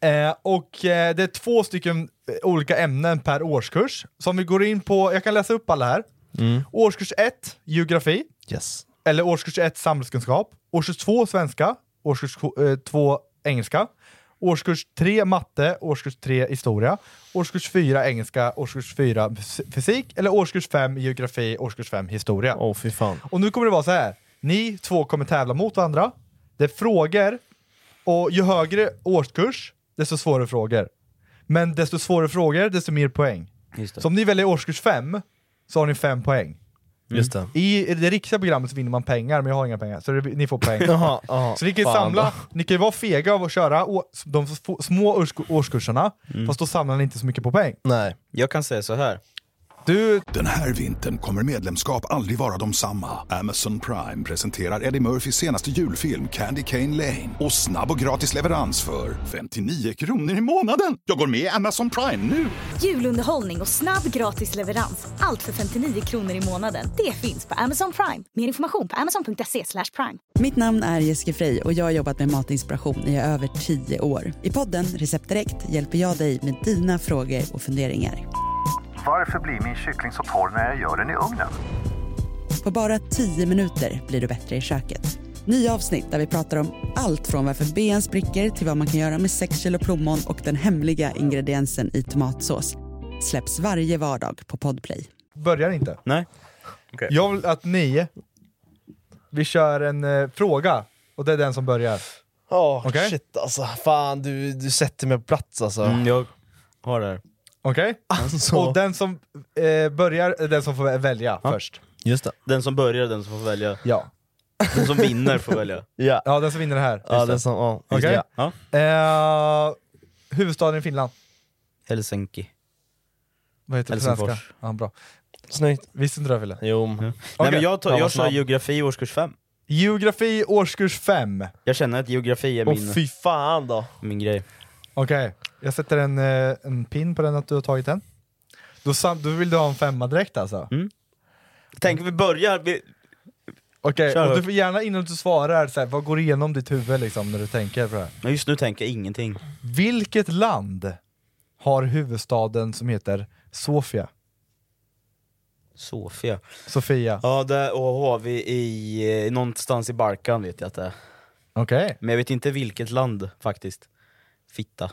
Eh, och eh, det är två stycken eh, olika ämnen per årskurs som vi går in på. Jag kan läsa upp alla här. Mm. Årskurs 1, geografi. Yes. eller årskurs 1 samhällskunskap, årskurs 2 svenska, årskurs 2 engelska, årskurs 3 matte, årskurs 3 historia, årskurs 4 engelska, årskurs 4 fys- fysik eller årskurs 5 geografi, årskurs 5 historia. Åh fy fan. Och nu kommer det vara så här. Ni två kommer tävla mot varandra. Det är frågor och ju högre årskurs, desto svårare frågor. Men desto svårare frågor, desto mer poäng. Just det. Så om ni väljer årskurs 5 så har ni 5 poäng. Mm. Just det. I det riktiga programmet så vinner man pengar, men jag har inga pengar. Så det, ni får <laughs> poäng. Jaha, jaha. Så ni kan ju Fan samla, då. ni kan ju vara fega av att köra å, de Mm. få- små årsk- årskurserna, fast då samlar ni inte så mycket på poäng. Nej. Jag kan säga så här. Den här vintern kommer medlemskap aldrig vara de samma. Amazon Prime presenterar Eddie Murphys senaste julfilm Candy Cane Lane. Och snabb och gratis leverans för 59 kronor i månaden. Jag går med i Amazon Prime nu! Julunderhållning och snabb gratis leverans. Allt för 59 kronor i månaden. Det finns på Amazon Prime. Mer information på amazon.se slash prime. Mitt namn är Jessica Frey och jag har jobbat med matinspiration i över 10 år. I podden Recept Direkt hjälper jag dig med dina frågor och funderingar. Varför blir min kyckling så torr när jag gör den i ugnen? På bara 10 minuter blir du bättre i köket. Nya avsnitt där vi pratar om allt från varför ben spricker till vad man kan göra med 6 kilo plommon och den hemliga ingrediensen i tomatsås. Släpps varje vardag på Podplay. Börjar inte. Nej. Jag vill att ni, vi kör en eh, fråga, och det är den som börjar. Åh Okej. shit alltså, fan du, du sätter mig på plats alltså. Mm, jag har det här. Okej? <laughs> Alltså. Och den som eh, börjar är den som får välja först. Just det. Den som börjar, den som får välja. Ja. Den som vinner får välja. Ja, Ja, den som vinner det här. ja det är som, ja. just Okej? det, Ja. Eh, huvudstaden i Finland. Helsinki. Vad heter det på Helsingfors. svenska? Ja, bra. ja. Snyggt. Visste inte du det Fille? Jo. Mm. Okej. Nej, men jag, Ja, tar, vad jag sa snabb. geografi i årskurs 5. Geografi årskurs 5. Jag känner att geografi är Åh min, fy fan då. min grej. Okej, jag sätter en, eh, en pin på den att du har tagit den. Då, sam- då vill du ha en femma direkt alltså? Mm. Tänk vi börjar... Vi, Okej, Kör och du upp. får gärna innan du svarar, så här, vad går igenom ditt huvud liksom, när du tänker på det här? men just nu tänker jag ingenting. Vilket land har huvudstaden som heter Sofia? Sofia. Sofia. Ja, det och har vi i... eh, Någonstans i Balkan vet jag att det är. Okej. Men jag vet inte vilket land faktiskt. Fitta.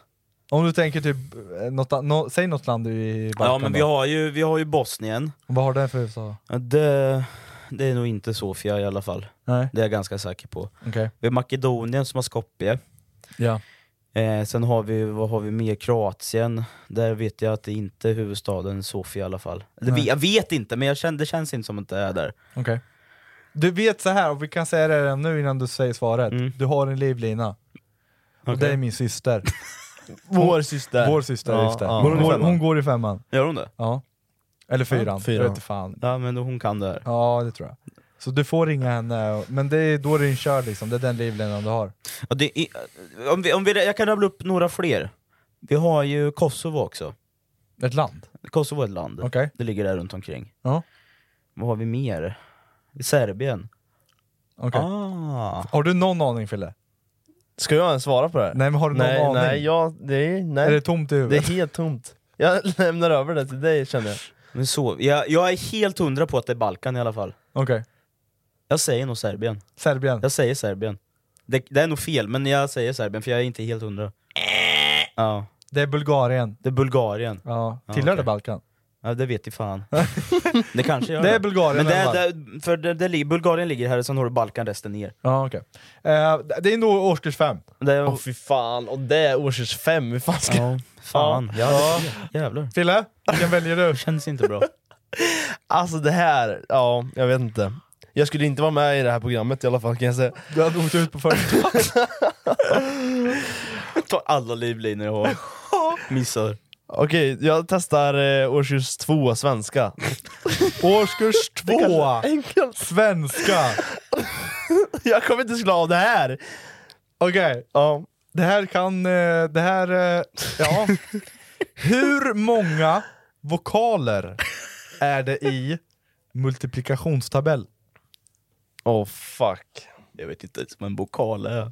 Om du tänker typ, eh, något, an- nå- säg något land i Balkan ja, men vi då. har, ju, vi har ju Bosnien. Vad har den för huvudstad? Ja, Det, det är nog inte Sofia i alla fall. Nej. Det är jag ganska säker på. Okej. Vi har Makedonien som har Skopje. Ja. Eh, sen har vi, vad har vi mer? Kroatien. Där vet jag att det inte är huvudstaden Sofia i alla fall. Eller Nej. vi- Jag vet inte, men jag känner, det känns inte som att det är där. Okej. Du vet så här, och vi kan säga det redan nu innan du säger svaret. Mm. Du har en livlina. Och det är min <laughs> syster. Vår syster. Vår syster Ja, ja, lyfter. ja. Går hon, i femman? hon går i femman. Gör hon det? Ja. Eller fyran. fyran. Jag vet inte fan. Ja, men hon kan det här. Ja, det tror jag. Så du får ringa henne, och- men det är då du är inkörd liksom. Det är den livlinan du har. Ja, det är, om vi, om vi, jag kan rabbla upp några fler. Vi har ju Kosovo också. Ett land. Kosovo är ett land. Okej. Det ligger där runt omkring. Ja. Vad har vi mer? Serbien. Okej. Ah. Har du någon aning Fille? Ska jag ens svara på det här? Nej, men har du någon nej, aning? nej, jag, det är, nej. Är det tomt i Det är huvudet? helt tomt. Jag <laughs> lämnar över det till dig känner jag. Men så, jag, jag är helt hundra på att det är Balkan i alla fall. Okej. Jag säger nog Serbien. Serbien. Jag säger Serbien. Det, det är nog fel, men jag säger Serbien för jag är inte helt hundra. Ja, Det är Bulgarien. det är Bulgarien. Ja. Ja, Tillhör okej. det Balkan? Ja, det vet i fan. Det kanske gör Det är Bulgarien Men det, i alla är- det, för det, det, ligger- Bulgarien ligger här, och sen har du Balkan resten ner. Ja, okej. Eh, det är nog årskurs fem. Det är, Åh fy fan, och det är årskurs fem, hur fan ska ja. ja, fan. Ja. Ja. Jävlar. Fille, vilken väljer du? Det känns inte bra. Alltså det här, ja jag vet inte. Jag skulle inte vara med i det här programmet i alla fall kan jag säga. Du hade åkt ut på <laughs> första. <laughs> Ta alla livlinor jag har. Missar. Okej, jag testar eh, årskurs <laughs> två svenska. årskurs två! Enkelt! Svenska! Jag kommer inte slå av det här! Okej, Ja, det här kan... eh, Det här... eh, <laughs> Ja. Hur många vokaler är det i multiplikationstabell? oh fuck. Jag vet inte ens vad en vokal <laughs> är.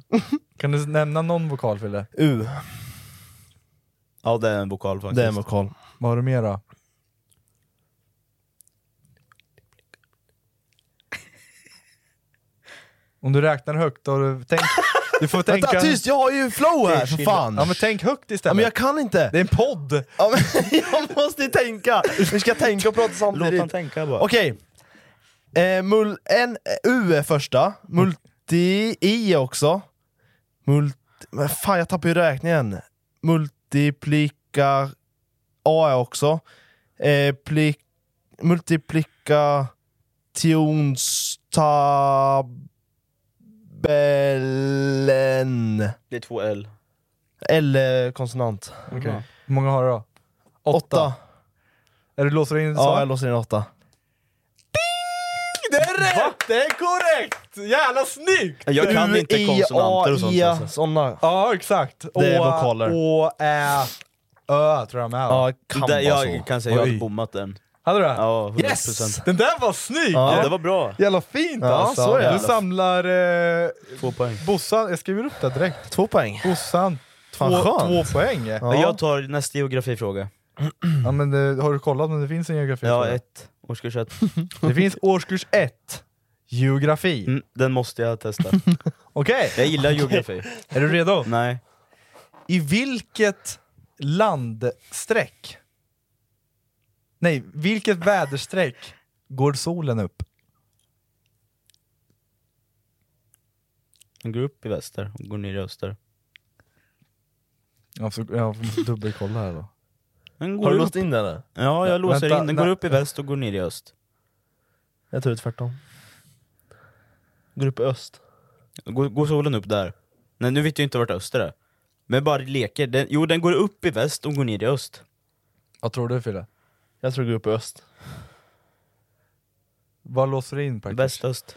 Kan du nämna någon vokal Fille? U, Ja, det är en vokal faktiskt. det är en vokal. Vad har du mer då? Om du räknar högt, då har du tänk, du får tänka... Vänta tyst, jag har ju flow här för fan! Ja men tänk högt Ja, istället! men jag kan inte! Det är en podd! Ja, men <laughs> jag måste ju tänka! Vi ska tänka och prata samtidigt. Låt han tänka bara. Okej. Eh, mul- en, eh, U är första, multi-I också. Multi... Men fan, jag tappar ju räkningen. Multiplika... A är också. Eh, plik... Multiplikationstabellen. Det är två L. L är konsonant. Hur många har du då? Åtta. Eller du låser in så? Ja, jag låser in åtta. Det är rätt! Det är korrekt! Jävla snyggt! Jag kan inte E, U, I, konsonanter och sånt, A, I, alltså. sådana. Ja, exakt. Det är vokaler. Å, ä, ö tror jag med. Ja, kan Det, vara jag så. kan säga att jag Oj. hade bommat den. Hade du det? Ja, 100%. Yes! Den där var snygg! Ja, det var bra. Jävla fint Ja, alltså. så är det. Du samlar... Eh, Två poäng. Bossan, jag skriver upp det direkt. Två poäng. Bossan, två, Fan, skönt. två poäng. Ja. Jag tar nästa geografifråga. Ja, men, eh, har du kollat om det finns en geografi? Ja, ett. Årskurs ett. Det finns årskurs ett, geografi. Mm, den måste jag testa. Okej, Jag gillar geografi. är du redo? Nej. I vilket landstreck? Nej, vilket väderstreck går solen upp? Den går upp i väster och går ner i öster. Jag får, jag får dubbelkolla här då. Den går Har du upp. låst in den eller? Ja, jag låser Vänta, in. Den na- går upp i väst och går ner i öst. Jag tror det är tvärtom. Går upp i öst. Går, går solen upp där? Nej, nu vet jag inte vart öster är. Men bara leker. Den, jo, den går upp i väst och går ner i öst. Vad tror du Fille? Jag tror det går upp i öst. Vad låser du in Packers? Västöst.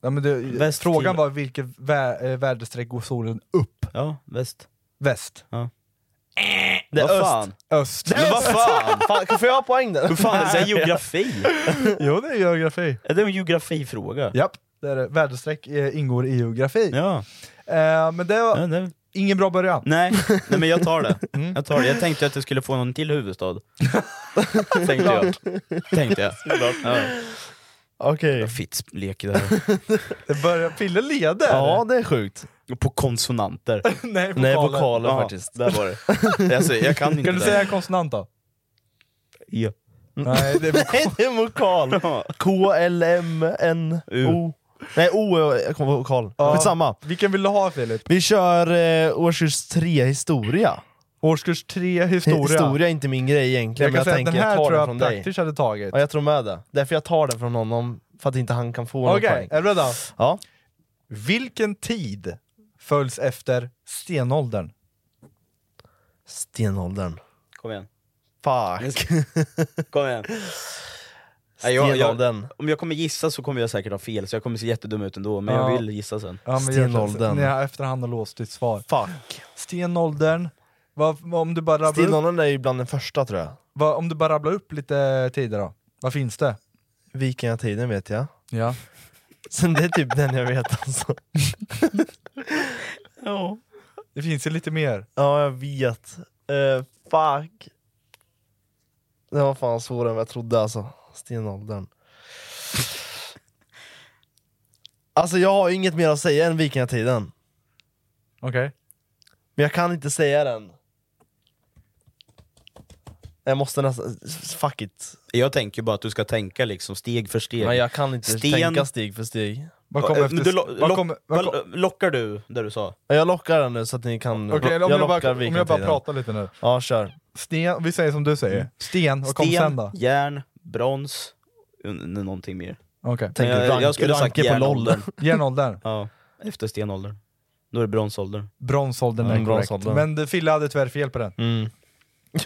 Ja, men du, Väst frågan till- var vilket vä eh, väderstreck går solen upp? Ja, väst. Väst? Det är Vad öst. fan? Öst? Men vad <laughs> fan? Fan, får jag ha poäng där? Hur fan är det här geografi? <laughs> jo det är geografi. Är det en geografifråga? Japp, det är det. Väderstreck eh, ingår i geografi. Ja. Eh, men det var ja det... ingen bra början. Nej. Nej, men jag <laughs> tar det. Mm. Jag tar det. Jag tänkte att jag skulle få någon till huvudstad. tänkte jag. Tänkte jag. <laughs> Ja. Okej. Jag fitt leker där. Det börjar, Fille leder! Ja, det är sjukt. Och På konsonanter. <laughs> Nej, vokaler. Nej, vokaler Ja, faktiskt. Där var det. Alltså, jag kan inte Kan du det. säga en konsonant då? Mm. Ja. Nej, det är vokal. Nej, det är <laughs> vokal. K-L-M-N-O. Nej, O är jag kommer ihåg vokal. Ja. Skitsamma. Vilken vill du ha Filip? Vi kör eh, årskurs 3 historia. Årskurs 3, historia. Historia är inte min grej egentligen, Jag men kan säga jag att tänker den jag här tar tror den jag från dig. praktiskt hade tagit. Ja, jag tror med det. Därför jag tar den från honom, för att inte han kan få någon Okej, poäng. är du redo? Ja. Vilken tid följs efter stenåldern? Stenåldern. Kom igen. Fuck. Kom igen. Nej, jag- jag- Stenåldern. Om jag kommer gissa så kommer jag säkert ha fel, så jag kommer se jättedum ut ändå, men Ja. jag vill gissa sen. Ja, men jag- Stenåldern. Ni har efterhand har låst ditt svar. Fuck. Stenåldern. Vad- vad- om, du bara rabblar upp, Stenåldern är ju bland den första tror jag. vad- om du bara rabblar upp lite tider då? Vad finns det? Vikingatiden vet jag. Ja. Sen det är typ den jag vet alltså. Det finns ju lite mer. Ja, jag vet. Eh, fuck. Det var fan svårare än vad jag trodde alltså. Stenåldern. Alltså jag har ju inget mer att säga än vikingatiden. Okej. Men jag kan inte säga den. Jag måste nästan... Fuck it. Jag tänker bara att du ska tänka liksom steg för steg. Men jag kan inte Sten- tänka steg för steg. Vad kommer Eh, efter... men du lo- vad lock- kommer, vad vad- kom, Lockar du det du sa? Ja, Jag lockar den nu så att ni kan... Okej, om, jag jag lockar bara, om jag bara vikingatiden. pratar lite nu. Ja, kör. Sten, vi säger som du säger. Sten, vad kom sen då? Mm. Sten, järn, brons, n- n- någonting mer. Okej. Tänk jag, rank- jag skulle ha sagt ranker på LOL. järnåldern. <laughs> Järnåldern. ja, efter stenåldern. Då är det bronsåldern. Bronsåldern är Mm, korrekt. bronsåldern. Men det- Fille hade tyvärr fel på den. Mm.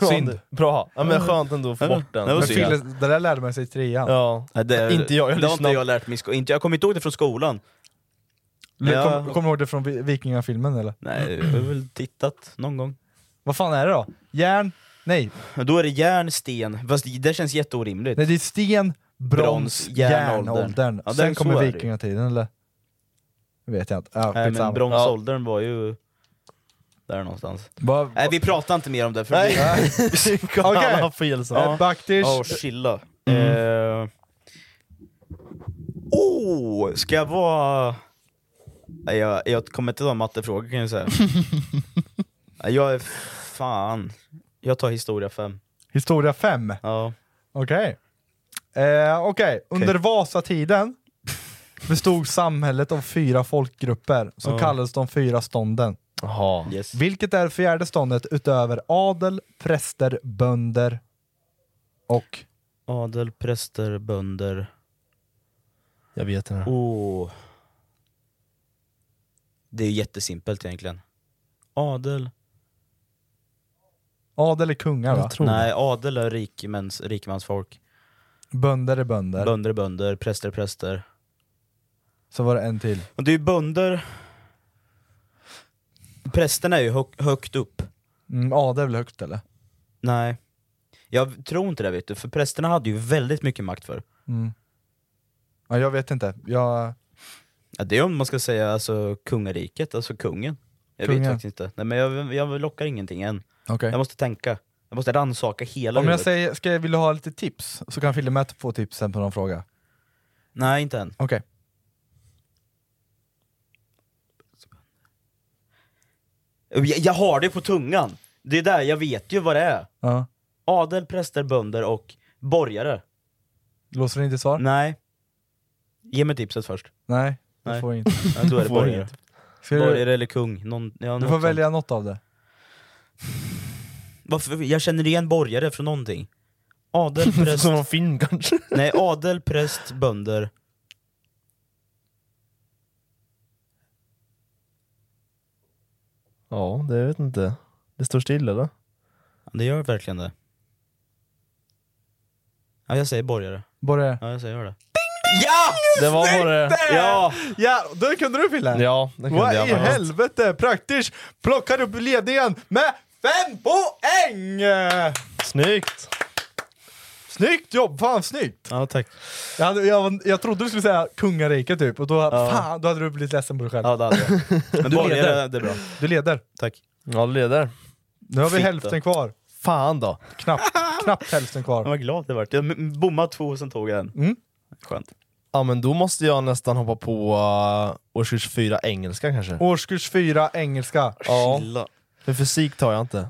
Synd. Ja, bra. Ja, men skönt ändå att få Ja, bort den. det var Men synd. Fille, det där lärde man sig i trean. Ja. Nej, det, Inte jag, jag det har inte lyssnar. jag lärt mig. i sko- Inte, jag kommer inte ihåg det från skolan. Men Ja. Kommer kom du ihåg det från vi- Vikingafilmen eller? Nej, jag har väl tittat någon gång. Vad fan är det då? Järn? Nej, Då är det järn, sten, fast det- det känns jätteorimligt. nej det är sten, brons, Brons, järnåldern. järnåldern. Ja, Sen den- så kommer är det ju. vikingatiden eller? Det vet jag inte. Ja, Nej, men skitsamma. bronsåldern var ju där någonstans. Bara- Nej, vi pratar inte mer om <laughs> det. För Nej. Vi, <laughs> Okej! <laughs> Mm. Okej. Han har fel så. Eh, Baktish, Ja, och chilla. Åh, oh, ska jag vara... Nej, Jag, jag kommer inte ta mattefrågor kan jag <laughs> säga. Nej, jag är fan... Jag tar historia 5. historia 5. Ja. Okej. Eh, Okej, under Vasatiden bestod samhället av fyra folkgrupper som kallades de fyra stånden. Jaha. Yes. Vilket är fjärde ståndet utöver adel, präster, bönder och... Adel, präster, bönder. Jag vet den här. Oh. Det är jättesimpelt egentligen. Adel, Adel är kungar va? Nej, adel är rikemans, rikemansfolk. Bönder är bönder. Bönder är bönder, präster är präster. Så var det en till. Och det är ju bönder... Prästerna är ju hög, högt upp. Mm, adel är väl högt eller? Nej. Jag tror inte det vet du, för prästerna hade ju väldigt mycket makt förr. Mm. Ja, jag vet inte. Jag... Ja, det är om man ska säga alltså kungariket, alltså kungen. Jag vet Kungen. faktiskt inte. Nej, men jag, jag lockar ingenting än. Okej. Jag måste tänka. Jag måste rannsaka hela Om jag huvudet. säger, ska jag, vill du ha lite tips? Så kan Fille med få tips sen på någon fråga. Nej, inte än. Okej. Jag, jag har det på tungan. Det är där, jag vet ju vad det är. Ja. Adel, präster, bönder och borgare. Låser du inte svar? Nej. Ge mig tipset först. Nej, du Nej. får inte. Ja, då är det Får borgare. inte. Ska du- Borgare eller kung. Någon, ja, Du något får sånt. välja något av det. Varför? Jag känner igen borgare från någonting. Adel, präst... Som någon film kanske? Nej, adel, präst, bönder. <laughs> Ja, det vet inte. Det står still eller? Det gör verkligen det. Ja, jag säger borgare. Borgare. Ja, jag säger det. Ja! Det var borgare. Ja! Ja, då kunde du Fille! Ja, det kunde Vad jag i faktiskt. helvete! Praktiskt plockar upp ledningen med fem poäng! Snyggt! Snyggt jobb! Fan snyggt! Ja, tack. Jag, hade, jag, jag trodde du skulle säga kungariket typ, och då, fan, då hade du blivit ledsen på dig själv. Ja, det hade jag. Men Du borgare, leder. det är bra. Du leder. Tack. Ja, du leder. Nu har vi Fitta. hälften kvar. Fan då. Knappt, <laughs> knappt hälften kvar. Vad glad det vart. Jag m- bommade två och sen tog jag en. Mm. Skönt. Ja, men då måste jag nästan hoppa på uh, årskurs fyra engelska kanske. Årskurs fyra, engelska. ja, Chilla. för fysik tar <laughs> jag inte.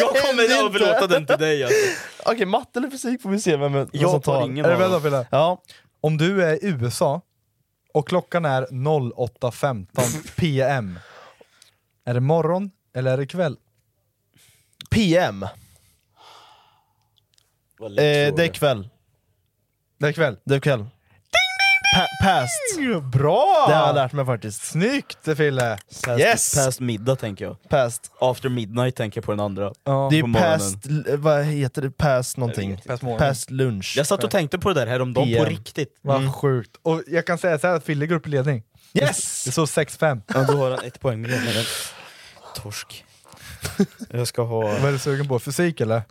Jag kommer överlåta den till dig alltså. Okej, matte eller fysik får vi se vem vem som Jag tar tar. ingen Är du av med då dem. Fille? Ja, Om du är i USA och klockan är 08.15 PM, är det morgon eller är det kväll? PM. Eh, Vad lätt det fråga. är kväll. Det är kväll. Det är kväll. Pa past. Bra! Det har jag lärt mig faktiskt. Snyggt Fille! Past, Yes! past middag tänker jag. Past. After midnight tänker jag på den andra. Ja. Det på är morgonen. past, l- vad heter det? Past någonting. Past morgon. Past lunch. Jag satt och tänkte på det där häromdagen på PM. riktigt. Vad sjukt. Och jag kan säga så här att Fille går upp i ledning. Yes! Det står 6-5. Ja, då har han ett poäng med <laughs> den. Torsk. <laughs> Jag ska ha... Vad är du sugen på? Fysik eller?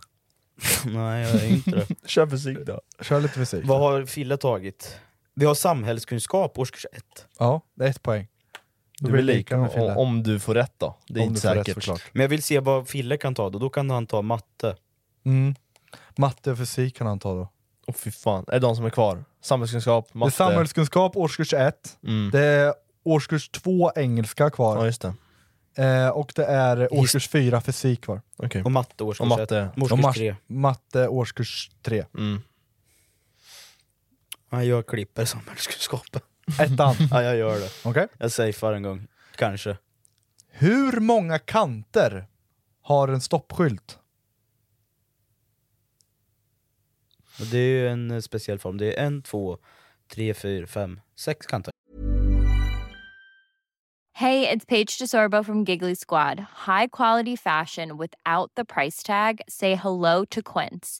Nej, jag är inte det. Kör fysik då. Kör lite fysik. <laughs> Vad har Fille tagit? Vi har samhällskunskap, årskurs 1. Ja, det är ett poäng. Då blir Du blir det lika lika med Fille. om, om du får rätt då. Det är Om du inte får rätt, säkert. såklart. Men jag vill se vad Fille kan ta då, då kan han ta matte. Mm. Matte och fysik kan han ta då. Åh fy fan. Är det de som är kvar? Samhällskunskap, matte? Det är samhällskunskap årskurs 1. Mm. Det är årskurs 2 engelska Ja kvar. just det. Eh, och det är årskurs 4 fysik kvar. Okej. Och matte, årskurs Och matte. 1. Och Årskurs mars- 3. Matte årskurs 3. Mm. Ja, jag klipper samhällskunskapen. Ettan. <laughs> Ja, jag gör det. Okej. Jag safear en gång. Kanske. Hur många kanter har en stoppskylt? Och det är ju en eh, speciell form. Det är en, två, tre, fyra, fem, sex kanter. Hey, it's Paige DeSorbo from Giggly Squad. High quality fashion without the price tag. Say hello to Quince.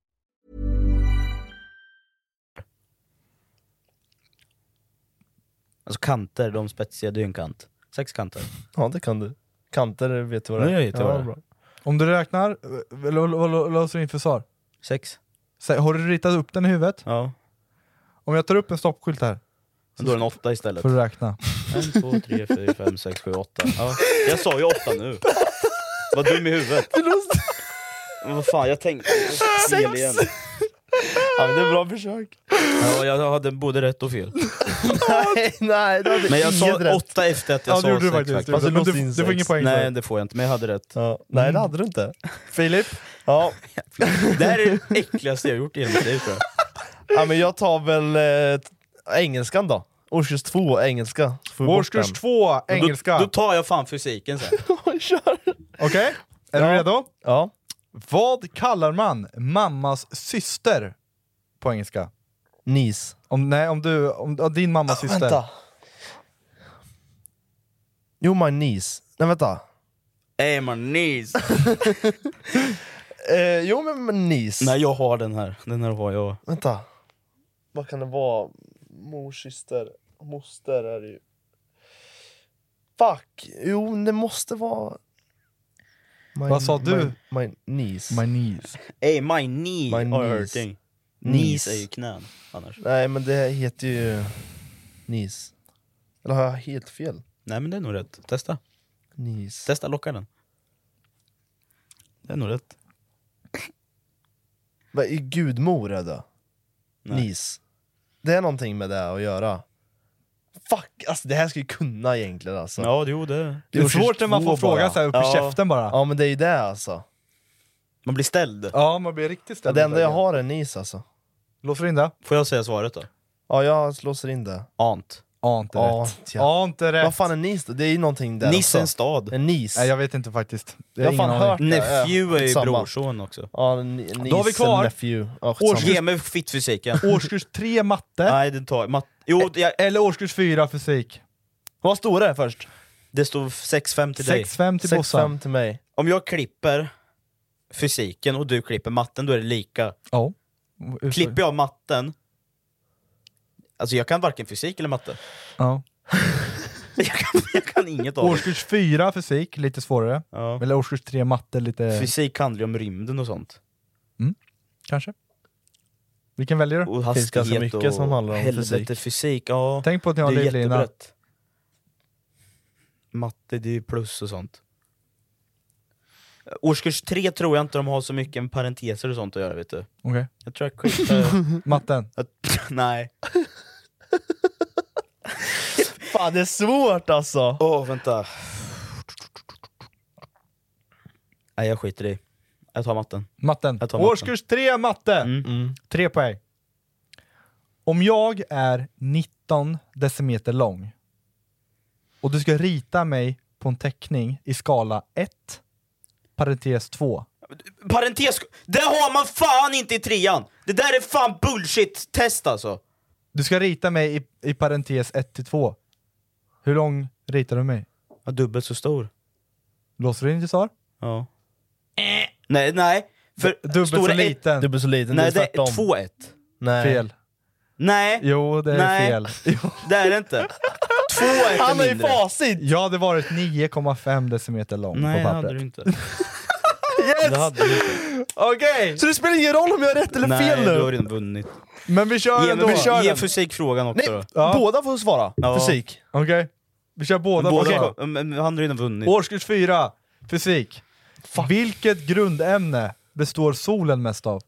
Alltså kanter, de spetsiga, det är ju en kant. Sex kanter. Ja det kan du. Kanter vet du vad det Ja, är? jag vet vad det är. bra. Om du räknar, eh, vad vad- vad låser du in för svar? Sex? Sä- Har du ritat upp den i huvudet? Ja. Om jag tar upp en stoppskylt här, Men då är den åtta istället. får du räkna. En, två, tre, fyra, fem, sex, sju, åtta. Ja. Jag sa ju åtta nu. Vad <laughs> dum i huvudet. Men vad fan, jag tänkte... Fel igen. Ja, men det är bra försök. Ja, jag hade både rätt och fel. nej, nej, det hade Men jag inget sa rätt. åtta efter att jag Ja, sa det gjorde du sex faktiskt. faktiskt. Alltså, Men låste du, in du får sex. ingen poäng Nej, Nej, det får jag inte, men jag hade rätt. Nej, det hade du inte. Filip? Ja. Det här är det äckligaste jag gjort i hela mitt liv tror jag. ja, men jag tar väl eh, engelskan då. Årskurs två, engelska. så får vi bort den. Men Då, då tar jag fan fysiken sen. Okej, är du redo? Ja. Vad kallar man mammas syster på engelska? Nis. Om, nej, om du... Om, ja, din mammas syster. Ah, Vänta. Jo, my niece. Nej, vänta. <laughs> Hey my knees! Eh, jo, men men <laughs> niece. Nej jag har den här, den här har jag. Vänta. Vad kan det vara? Morsyster? Moster är det ju. Fuck! Jo, det måste vara... My- Vad sa du? My, my niece. My knees. Hey my knee My are knees. hurting. Knees Knees. är ju knän annars. Nej, men det heter ju... Nice. Eller har jag helt fel? Nej men det är nog rätt, testa. Knees. Testa locka den. Det är nog rätt. Vad är gudmor är det? Nej. Nice. Det är någonting med det att göra. Fuck! Alltså det här ska ju kunna egentligen alltså. Ja, jo det. Det är svårt när man får frågan så här upp i käften bara. Ja men det är ju det alltså. Man blir ställd. Ja, man blir riktigt Ja, ställd. det enda jag har är nis alltså. Låser in det. Får jag säga svaret då? Ja jag låser in det. Ant. Ant är rätt. Ant, ja. Ant är Vad rätt. fan är nis då? Det är ju någonting där Nice är Alltså. en också. stad. En nis. Nej, jag vet inte faktiskt. Det Jag har ingen fan aning. hört det. ja, Nephew är ju skitsamma. brorson också. Ja, en ni- niece, Då har vi kvar. en nephew. Ja, Årskurs- skitsamma. Ge mig fittfysiken. Årskurs tre matte. Nej, det tar mat, Jo, jag, Eller årskurs fyra fysik. Vad står det först? det står 6-5 till dig. 6-5 till Bossan. 6-5 till mig. Om jag klipper fysiken och du klipper matten, då är det lika. Ja. Klipper jag matten, alltså jag kan varken fysik eller matte. <laughs> Ja. Jag kan, jag kan inget av det. Årskurs fyra fysik, lite svårare. Ja. Eller årskurs tre matte, lite... Fysik handlar ju om rymden och sånt. Kanske. Vilken väljer du? Och finns hastighet ganska mycket och som handlar om helvete, fysik. ja. Tänk på att ni det har är en livlina. jättebrett. Matte, det är ju plus och sånt. Årskurs tre tror jag inte de har så mycket med parenteser och sånt att göra vet du. Okej. Jag tror jag klipper... <laughs> Matten. att- <laughs> Nej. Fan det är svårt alltså! Åh, vänta. Nej, jag skiter i. Jag tar matten. Matten. Jag tar matten. Mm, Årskurs tre matte! Tre poäng. Om jag är 19 decimeter lång och du ska rita mig på en teckning i skala 1, parentes 2. Parentes, det har man fan inte i trean! Det där är fan bullshit-test alltså! Du ska rita mig i, i parentes 1 till 2. Hur lång ritar du mig? Ja, dubbelt så stor. Låser du in ditt svar? Ja. Eh. Nej, nej. För Dubbelt står så det ett- liten. Dubbel så liten, Nej, det är det är tvärtom. 2-1. Nej. Fel. Nej, Jo, det är Nej. <laughs> fel. det är det inte. 2-1 är Han har ju mindre. facit! Jag hade varit 9,5 decimeter lång Nej, på det hade du pappret. inte. Yes! Det hade du inte. Okej! Så det spelar ingen roll om jag har rätt eller Nej, fel du har nu? redan vunnit. Men vi kör Ge, ändå! mig, kör ge den. fysikfrågan också Nej, då. Ja. båda får svara. Ja. Fysik. Okej. Vi kör båda. på Båda, samma. okay. Han har redan vunnit. Årskurs 4, fysik. Vilket grundämne består solen mest av?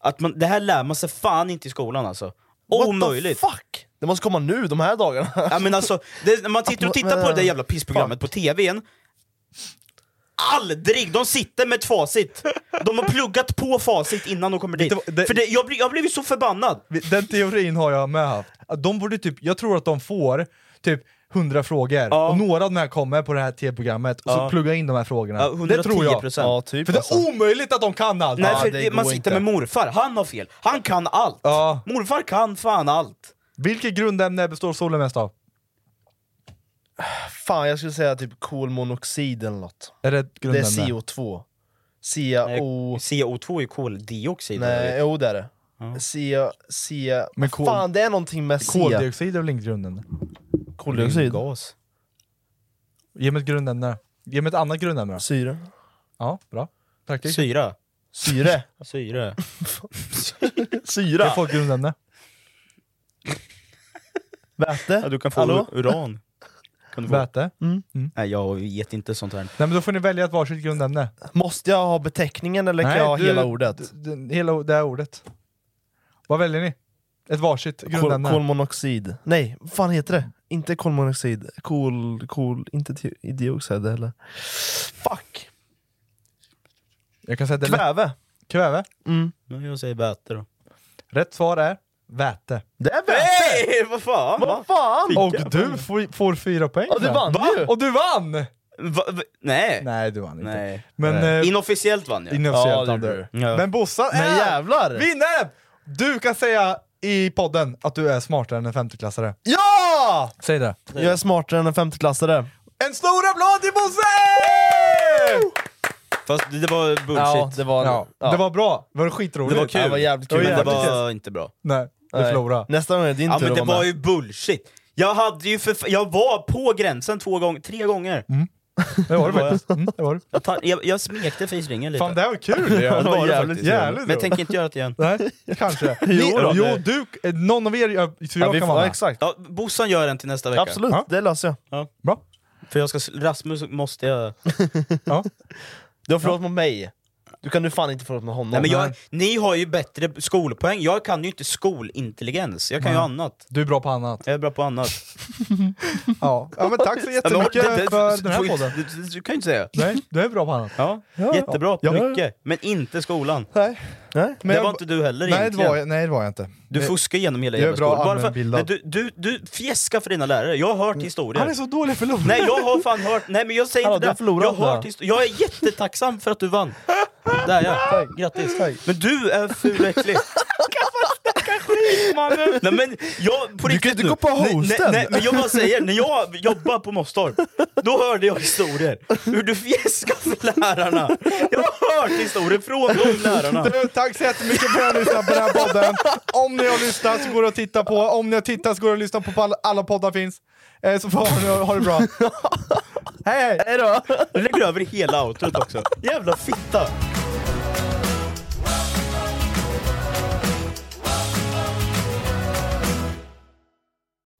Att man, det här lär man sig fan inte i skolan alltså. Omöjligt! What the fuck? Det måste komma nu, de här dagarna. Ja, men alltså, det, när man tittar och tittar på det där jävla pissprogrammet på tvn, aldrig! De sitter med ett facit. De har pluggat på facit innan de kommer dit. Vet du vad, det- För det, jag, blir, jag blev ju så förbannad! Den teorin har jag med haft. Att De borde typ, jag tror att de får typ 100 frågor, Ja. och några av de här kommer på det här tv-programmet, och Ja. så plugga in de här frågorna. Ja, det tror jag. 110%. ja, typ För det oh! alltså. är omöjligt att de kan allt! Nej, Ja, för det det, man går sitter inte. med morfar, han har fel. Han kan allt! Ja. Morfar kan fan allt! Vilket grundämne består solen mest av? Fan, jag skulle säga typ kolmonoxid eller något. Är det ett Det är grundämne? CO2. Eh, CO... CO2 är ju koldioxid. Nej, jo det är det. CO... CO... Men kol- Fan, det är någonting med C. Koldioxid är väl inget grundämne? Koldioxid? Gas. Ge mig ett grundämne. Ge mig ett annat grundämne då. Syre. Ja, bra. Praktiskt. Syra. Syre? Syre. Syra? Jag får ett grundämne. Väte? Ja, du kan få Hallå? uran. Kan du få? Väte? Mm. Nej, jag vet inte sånt här. Nej men då får ni välja ett varsitt grundämne. Måste jag ha beteckningen eller kan jag ha hela ordet? d- d- hela o- det här ordet. Vad väljer ni? Ett varsitt Kol, grundämne. kolmonoxid. Nej, vad fan heter det? Inte kolmonoxid. Kol... kol inte di- dioxid heller. Fuck! Jag kan säga det är lätt. Kväve! Kväve. Men jag säger väte då. Rätt svar är väte. Det är väl! Nej, vad fan! Va? Vad fan! Och du får, får fyra poäng. Ja, du sen. vann Va? ju! Och du vann! Va, va, nej. Nej, du vann inte. Nej. Men eh, Inofficiellt vann jag. Ja, inofficiellt det vann du. gjorde Ja. Men Bossan Men är jävlar! vinnaren! Du kan säga i podden att du är smartare än en femteklassare. Ja! Säg det. Jag är smartare än en femteklassare. En stor applåd till Bosse! Fast det var bullshit. det var... Ja, det var bra. Det var skitroligt. det var kul. det var jävligt kul. Men det jävligt var inte bra. Nej, du Nej. förlorade. Nästa gång är det din Ja tur men det att vara var med. ju bullshit. Jag hade ju för fa- jag var på gränsen två gånger, tre gånger. Mm. Det var det faktiskt. Mm, det var det. Jag, tar, jag, jag smekte fisringen lite. Fan, det här var kul <laughs> Ja, ja. det var jävligt faktiskt. kul. men jag tänker inte göra det igen. Nej, kanske. Jo då. <laughs> jo du, eh, någon av er, gör- så Ja, jag vi kan får- ja, vara med. exakt. Ja, Bossan gör den till nästa vecka. Absolut, Ja. det löser jag. Bra. För jag ska, s- Rasmus måste jag... Ja. Du har förlorat mot mig. Du kan du fan inte förlåta mot honom. Nej, men jag ni har ju bättre skolpoäng, jag kan ju inte skolintelligens. Jag kan ju annat. Du är bra på annat. Jag är bra <laughs> på annat. Ja, <laughs> ja men tack så jättemycket Ja, men- för den här får- podden. Du, du, du kan ju inte säga. Nej, du är bra på annat. Ja, jättebra, Ja. mycket. Men inte skolan. Nej. Nej, Men det jag- var inte du heller Nej det, egentligen. var, jag- nej det var jag inte. Eh, Du fuskar genom hela Jag är jävla bra skolan. Bara för, nej, allmänbildad. du, du, du fjäskar för dina lärare, jag har hört historier. Han är så dålig förlorare. Nej jag har fan hört, nej men jag säger Hallå, inte du har det. förlorat jag, har då. hört histo- jag är jättetacksam för att du vann. Där ja, grattis. Men du är ful och <laughs> äcklig. Nej men jag, på Du kan riktigt inte nu. gå på Nej, nej, hosten. nej, men jag bara säger, när jag jobbade på Mosstorp, då hörde jag historier. Hur du fjäskar för lärarna. Jag har hört historier från de lärarna. Du, tack så jättemycket för att ni har lyssnat på den här podden. Om ni har lyssnat så går det att titta på, om ni har tittat så går det att lyssna på, på alla, alla poddar finns. Eh, så får ni ha det bra. Hej hej! Hejdå! Nu lägger du över hela outrot också. Jävla fitta!